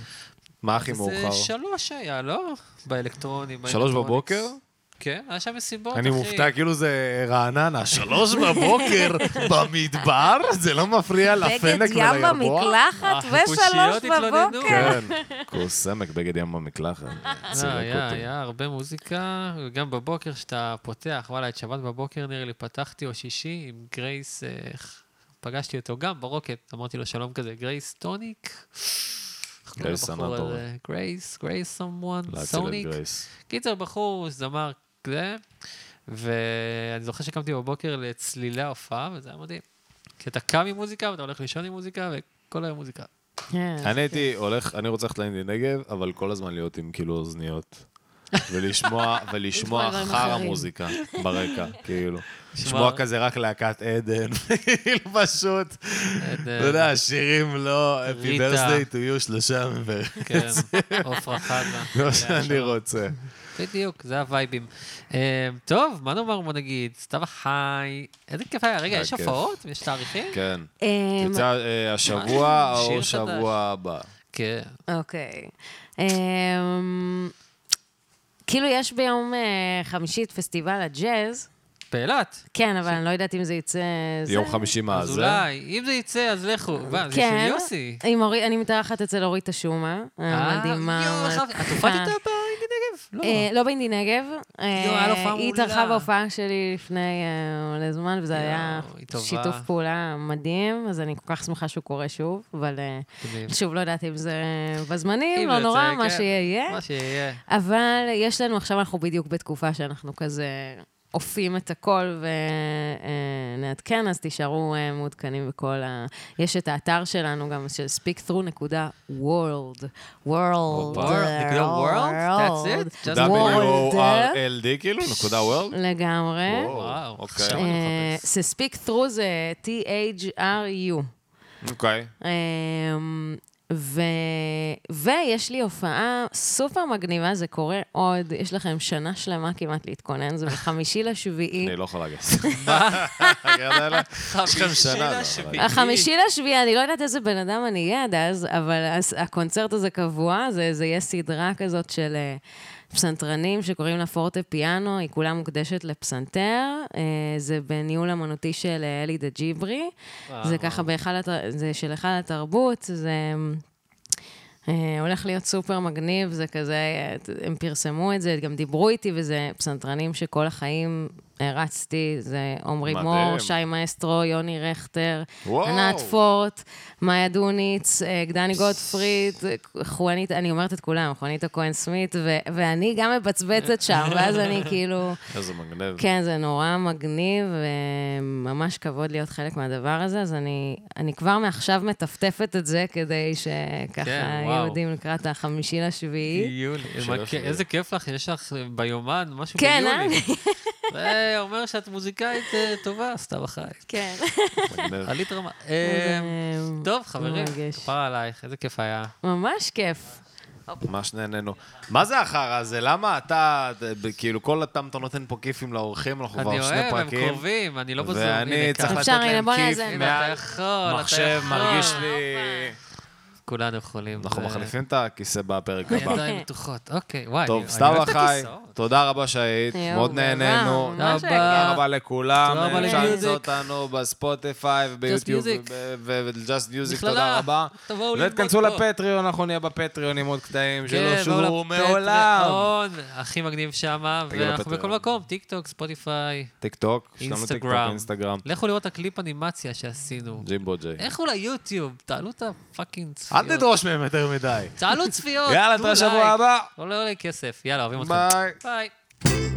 [SPEAKER 1] מה הכי
[SPEAKER 2] זה
[SPEAKER 1] מאוחר?
[SPEAKER 2] שלוש היה, לא? באלקטרונים.
[SPEAKER 1] שלוש
[SPEAKER 2] באלקטרוניקס.
[SPEAKER 1] בבוקר?
[SPEAKER 2] כן, היה שם מסיבות, אחי.
[SPEAKER 1] אני מופתע, כאילו זה רעננה, שלוש בבוקר במדבר? זה לא מפריע
[SPEAKER 3] בגד
[SPEAKER 1] לפנק
[SPEAKER 3] ים
[SPEAKER 1] ולירבוע?
[SPEAKER 3] במקלחת ושלוש
[SPEAKER 2] אה, החיפושיות התלוננו.
[SPEAKER 3] בבוקר.
[SPEAKER 1] כן, כוס עמק, בגד ים במקלחת.
[SPEAKER 3] אה,
[SPEAKER 2] לא,
[SPEAKER 1] זורק
[SPEAKER 2] היה,
[SPEAKER 1] אותו.
[SPEAKER 2] היה הרבה מוזיקה, וגם בבוקר כשאתה פותח, וואלה, את שבת בבוקר נראה לי פתחתי, או שישי, עם גרייס, אה, פגשתי אותו גם ברוקט, אמרתי לו שלום כזה, גרייס טוניק. איך קוראים
[SPEAKER 1] גרייס
[SPEAKER 2] לבחור
[SPEAKER 1] סנטור.
[SPEAKER 2] הזה? אה, גרייס, גרייס סומוואן,
[SPEAKER 1] להציל את
[SPEAKER 2] סוניק.
[SPEAKER 1] גרייס.
[SPEAKER 2] קיצר, בחור, זמר כזה, ואני זוכר שקמתי בבוקר לצלילי ההופעה, וזה היה מדהים. כי אתה קם עם מוזיקה, ואתה הולך לישון עם מוזיקה, וכל היום מוזיקה.
[SPEAKER 3] כן.
[SPEAKER 1] אני הייתי הולך, אני רוצה ללכת לאינדי נגב, אבל כל הזמן להיות עם כאילו אוזניות. ולשמוע, ולשמוע
[SPEAKER 3] דברים
[SPEAKER 1] חרא
[SPEAKER 3] אחרים.
[SPEAKER 1] מוזיקה ברקע, כאילו. לשמוע כזה רק להקת עדן, כאילו פשוט,
[SPEAKER 3] כן.
[SPEAKER 2] אתה
[SPEAKER 1] אתה יודע, שירים לא, happy
[SPEAKER 2] ריטה.
[SPEAKER 1] birthday to you שלושה מבין,
[SPEAKER 2] כן, עפרה חזה.
[SPEAKER 1] זה מה לא שאני רוצה.
[SPEAKER 2] בדיוק, זה הווייבים. אה, טוב, מה נאמר, בוא נגיד, סתיו החי, איזה כיף היה. רגע,
[SPEAKER 1] היה
[SPEAKER 2] יש
[SPEAKER 1] כיף.
[SPEAKER 2] הופעות? יש תאריכים?
[SPEAKER 1] כן.
[SPEAKER 3] אמ,
[SPEAKER 1] יצא אה, השבוע
[SPEAKER 2] שיר
[SPEAKER 1] או
[SPEAKER 2] חדש.
[SPEAKER 1] שבוע הבא.
[SPEAKER 2] כן.
[SPEAKER 3] אוקיי. אמ, כאילו, יש ביום אה, חמישי את פסטיבל הג'אז.
[SPEAKER 2] באילת.
[SPEAKER 3] כן, אבל אני לא יודעת אם זה יצא... זה-
[SPEAKER 1] יום חמישי מה
[SPEAKER 2] אז
[SPEAKER 1] אה, זה?
[SPEAKER 2] אולי, אם זה יצא, אז לכו. מה, זה
[SPEAKER 3] כן. אה,
[SPEAKER 2] של יוסי. אה,
[SPEAKER 3] עם אורי- אני מתארחת אצל אורית השומה, המדהימה. אה,
[SPEAKER 2] יואו, איך אהבתי. את
[SPEAKER 3] המלכה.
[SPEAKER 2] הופעת איתה באינדי נגב? לא.
[SPEAKER 3] אה, לא באינדי נגב. אה,
[SPEAKER 2] היה לה הופעה
[SPEAKER 3] היא
[SPEAKER 2] מעולה.
[SPEAKER 3] התארחה בהופעה שלי לפני אה, מלא זמן, וזה היה
[SPEAKER 2] היא טובה.
[SPEAKER 3] שיתוף פעולה מדהים, אז אני כל כך שמחה שהוא קורה שוב, אבל אה,
[SPEAKER 2] מגניב.
[SPEAKER 3] שוב, לא יודעת אם זה
[SPEAKER 2] אם
[SPEAKER 3] בזמנים,
[SPEAKER 2] זה
[SPEAKER 3] לא
[SPEAKER 2] יצא,
[SPEAKER 3] נורא, מה
[SPEAKER 2] כן.
[SPEAKER 3] שיהיה יהיה.
[SPEAKER 2] מה שיהיה.
[SPEAKER 3] אבל יש לנו, עכשיו אנחנו בדיוק בתקופה שאנחנו כזה עופים את הכל ונעדכן, אז תישארו אה, מעודכנים בכל ה... יש את האתר שלנו גם, של speakthrough.world. world.
[SPEAKER 2] Oh, נקודה world? That's it? Just
[SPEAKER 3] world.
[SPEAKER 1] W-O-R-L-D כאילו? נקודה וורלד?
[SPEAKER 3] לגמרי.
[SPEAKER 2] וואו,
[SPEAKER 1] אוקיי.
[SPEAKER 2] עכשיו אני
[SPEAKER 3] אה,
[SPEAKER 2] מחפש.
[SPEAKER 3] זה speakthrough זה T-H-R-U.
[SPEAKER 1] אוקיי.
[SPEAKER 3] אמ, ו... ויש לי הופעה סופר מגניבה, זה קורה עוד, יש לכם שנה שלמה כמעט להתכונן, זה בחמישי לשביעי.
[SPEAKER 1] אני לא יכול לגעת. מה? יש לכם שנה.
[SPEAKER 2] אה,
[SPEAKER 1] לא, אבל-
[SPEAKER 3] החמישי לשביעי, אני לא יודעת איזה בן אדם אני אהיה עד אז, אבל אז הקונצרט הזה קבוע, זה, זה יהיה סדרה כזאת של אה, פסנתרנים שקוראים לה פורטה פיאנו, היא כולה מוקדשת לפסנתר, אה, זה בניהול אמנותי של אה, אלי דה ג'יברי, זה ככה בהיכל, הת- זה של היכל התרבות, זה... אה, הולך להיות סופר מגניב, זה כזה, אה, הם פרסמו את זה, גם דיברו איתי, וזה פסנתרנים שכל החיים הרצתי, זה עמרי
[SPEAKER 1] מדהים.
[SPEAKER 3] מור, שי מאסטרו, יוני רכטר,
[SPEAKER 1] וואו.
[SPEAKER 3] ענת פורט, מאיה דוניץ, אה, דני גוטפריד, אה, חואנית, אני אומרת את כולם, חואניטה כהן סמית, ו- ואני גם מבצבצת שם, ואז אני כאילו...
[SPEAKER 1] איזה מגנב.
[SPEAKER 3] כן, זה נורא מגניב, וממש כבוד להיות חלק מהדבר הזה, אז אני, אני כבר מעכשיו מטפטפת את זה כדי שככה
[SPEAKER 2] כן,
[SPEAKER 3] כן,
[SPEAKER 2] וואו.
[SPEAKER 3] יהודים לקראת החמישי לשביעי.
[SPEAKER 2] יולי, מה,
[SPEAKER 1] שלוש
[SPEAKER 2] כן,
[SPEAKER 1] שנים.
[SPEAKER 2] איזה כיף לך, יש לך ביומן משהו
[SPEAKER 3] כן,
[SPEAKER 2] ביולי. זה אומר שאת מוזיקאית אה, טובה, סתיו החי.
[SPEAKER 3] כן.
[SPEAKER 1] מגנב.
[SPEAKER 2] עלית רמה.
[SPEAKER 3] זה
[SPEAKER 2] אמ, אה, טוב, חברים,
[SPEAKER 3] מרגש.
[SPEAKER 2] כפרה עלייך, איזה כיף היה.
[SPEAKER 3] ממש כיף.
[SPEAKER 1] ממש נהנינו. מה זה החרא הזה? למה אתה, ב- כאילו, כל התם אתה נותן פה כיפים לאורחים, אנחנו
[SPEAKER 2] אני
[SPEAKER 1] כבר שני
[SPEAKER 2] אוהב, הם
[SPEAKER 1] פרקים.
[SPEAKER 2] קרובים, אני לא בזום.
[SPEAKER 1] ואני צריך לתת
[SPEAKER 3] אפשר, הנה,
[SPEAKER 1] להם
[SPEAKER 3] בוא
[SPEAKER 1] כיף
[SPEAKER 3] נאזן.
[SPEAKER 1] מעל
[SPEAKER 2] אתה יכול, אתה
[SPEAKER 1] מחשב,
[SPEAKER 2] יכול.
[SPEAKER 1] מרגיש לי...
[SPEAKER 2] כולנו יכולים.
[SPEAKER 1] אנחנו
[SPEAKER 2] זה-
[SPEAKER 1] מחליפים את הכיסא בפרק הבא.
[SPEAKER 2] ידיים בטוחות, אוקיי, וואי.
[SPEAKER 1] טוב,
[SPEAKER 2] אני
[SPEAKER 1] סתיו
[SPEAKER 2] אוהב את
[SPEAKER 1] החי,
[SPEAKER 2] הכיסאות. אה,
[SPEAKER 1] תודה רבה שהיית,
[SPEAKER 3] יואו,
[SPEAKER 1] מאוד
[SPEAKER 3] תודה.
[SPEAKER 1] נהנינו.
[SPEAKER 3] ממש
[SPEAKER 2] תודה
[SPEAKER 3] היה
[SPEAKER 1] תודה
[SPEAKER 2] רבה.
[SPEAKER 1] רבה כן, לכולם,
[SPEAKER 2] תודה רבה
[SPEAKER 1] אפשר
[SPEAKER 2] למיוזיק.
[SPEAKER 1] למצוא אותנו בספוטיפיי וביוטיוב
[SPEAKER 2] Music.
[SPEAKER 1] ו-Just Music,
[SPEAKER 2] מכללה,
[SPEAKER 1] תודה רבה.
[SPEAKER 2] תבואו ללמוד
[SPEAKER 1] ותכנסו
[SPEAKER 2] פה.
[SPEAKER 1] לפטריון, אנחנו נהיה בפטריון עם עוד קטעים שלא
[SPEAKER 2] כן, באו
[SPEAKER 1] שובו
[SPEAKER 2] לפטריון,
[SPEAKER 1] לא מעולם.
[SPEAKER 2] הכי מגניב שמה,
[SPEAKER 1] תגידו
[SPEAKER 2] ואנחנו בכל
[SPEAKER 1] לפטריון.
[SPEAKER 2] מקום, טיק טוק, ספוטיפיי,
[SPEAKER 1] טיק טוק, יש לנו טיק טוק,
[SPEAKER 2] אינסטגרם.
[SPEAKER 1] אינסטגרם,
[SPEAKER 2] לכו לראות את הקליפ אנימציה שעשינו.
[SPEAKER 1] ג'ימבו ג'יי.
[SPEAKER 2] לכו ליוטיוב, תעלו את הפאקינג צפיות.
[SPEAKER 1] אל
[SPEAKER 2] צפיות.
[SPEAKER 1] תדרוש מהם יותר מדי.
[SPEAKER 2] תעלו צפיות.
[SPEAKER 1] יאללה,
[SPEAKER 2] תנו
[SPEAKER 1] תראה שבוע
[SPEAKER 2] לייק.
[SPEAKER 1] הבא.
[SPEAKER 2] לא עולה לי כסף. יאללה, אוהבים אתכם.
[SPEAKER 1] ביי.
[SPEAKER 2] ביי.